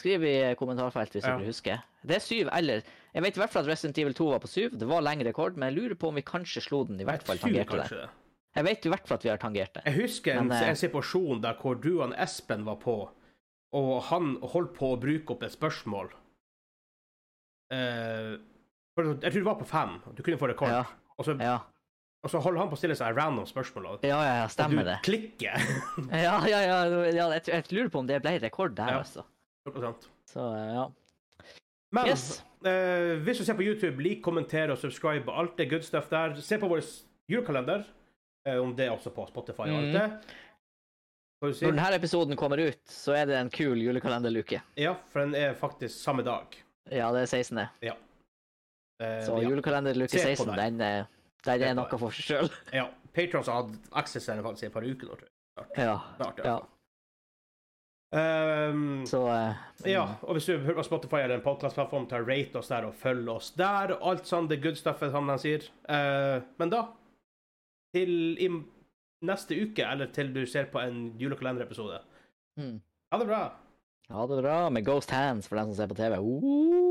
S2: Skriv i kommentarfeltet hvis
S1: Ja.
S2: dere husker. Det er syv eller Jeg vet i hvert fall at Resident Evil 2 var på syv. Det var lengre rekord, men jeg lurer på om vi kanskje slo den. I hvert fall
S1: Jeg tror
S2: tangerte den.
S1: kanskje det.
S2: Jeg vet i hvert fall at vi har tangert den.
S1: Jeg husker en,
S2: Men, eh,
S1: en situasjon der hvor du og han Espen var på, og han holdt på å bruke opp et spørsmål. Eh, for jeg tror det var på fem, du kunne få rekord.
S2: Ja.
S1: Og, så,
S2: Ja,
S1: og så holder han på å stille seg random spørsmål, og
S2: ja, ja, ja
S1: du
S2: stemmer det.
S1: klikker.
S2: Ja, ja, ja, ja jeg, jeg lurer på om det ble rekord der,
S1: Ja.
S2: altså.
S1: Noe sånt.
S2: Så eh, ja.
S1: Men
S2: Yes.
S1: eh, hvis du ser på YouTube, lik, kommenter og subscribe og alt det good stuff der. Se på vår julekalender, eh, om det er også på Spotify og alt
S2: Mhm.
S1: det. Hva du sier?
S2: Når denne episoden kommer ut, så er det en kul julekalenderluke.
S1: Ja, for den er faktisk samme dag.
S2: Ja, det er 16.
S1: Eh,
S2: Så
S1: ja.
S2: julekalenderluke
S1: Se på
S2: 16, den, eh, den
S1: Se
S2: er
S1: på
S2: noe
S1: den.
S2: for seg sjøl.
S1: ja. Patrons har hatt access til den faktisk i et par uker nå, tror jeg.
S2: Ja.
S1: Snart, i hvert
S2: ja.
S1: fall. altså. Ehm,
S2: Så eh,
S1: ja, og hvis du hører på Spotify eller en podkastplattform, ta rate oss der og følg oss der. og Alt sånn det good stuffet som de sier. Eh, men da, til i neste uke, eller til du ser på en julekalenderepisode.
S2: mm.
S1: Ha det bra!
S2: Ha det bra med Ghost Hands for dem som ser på TV. Uh.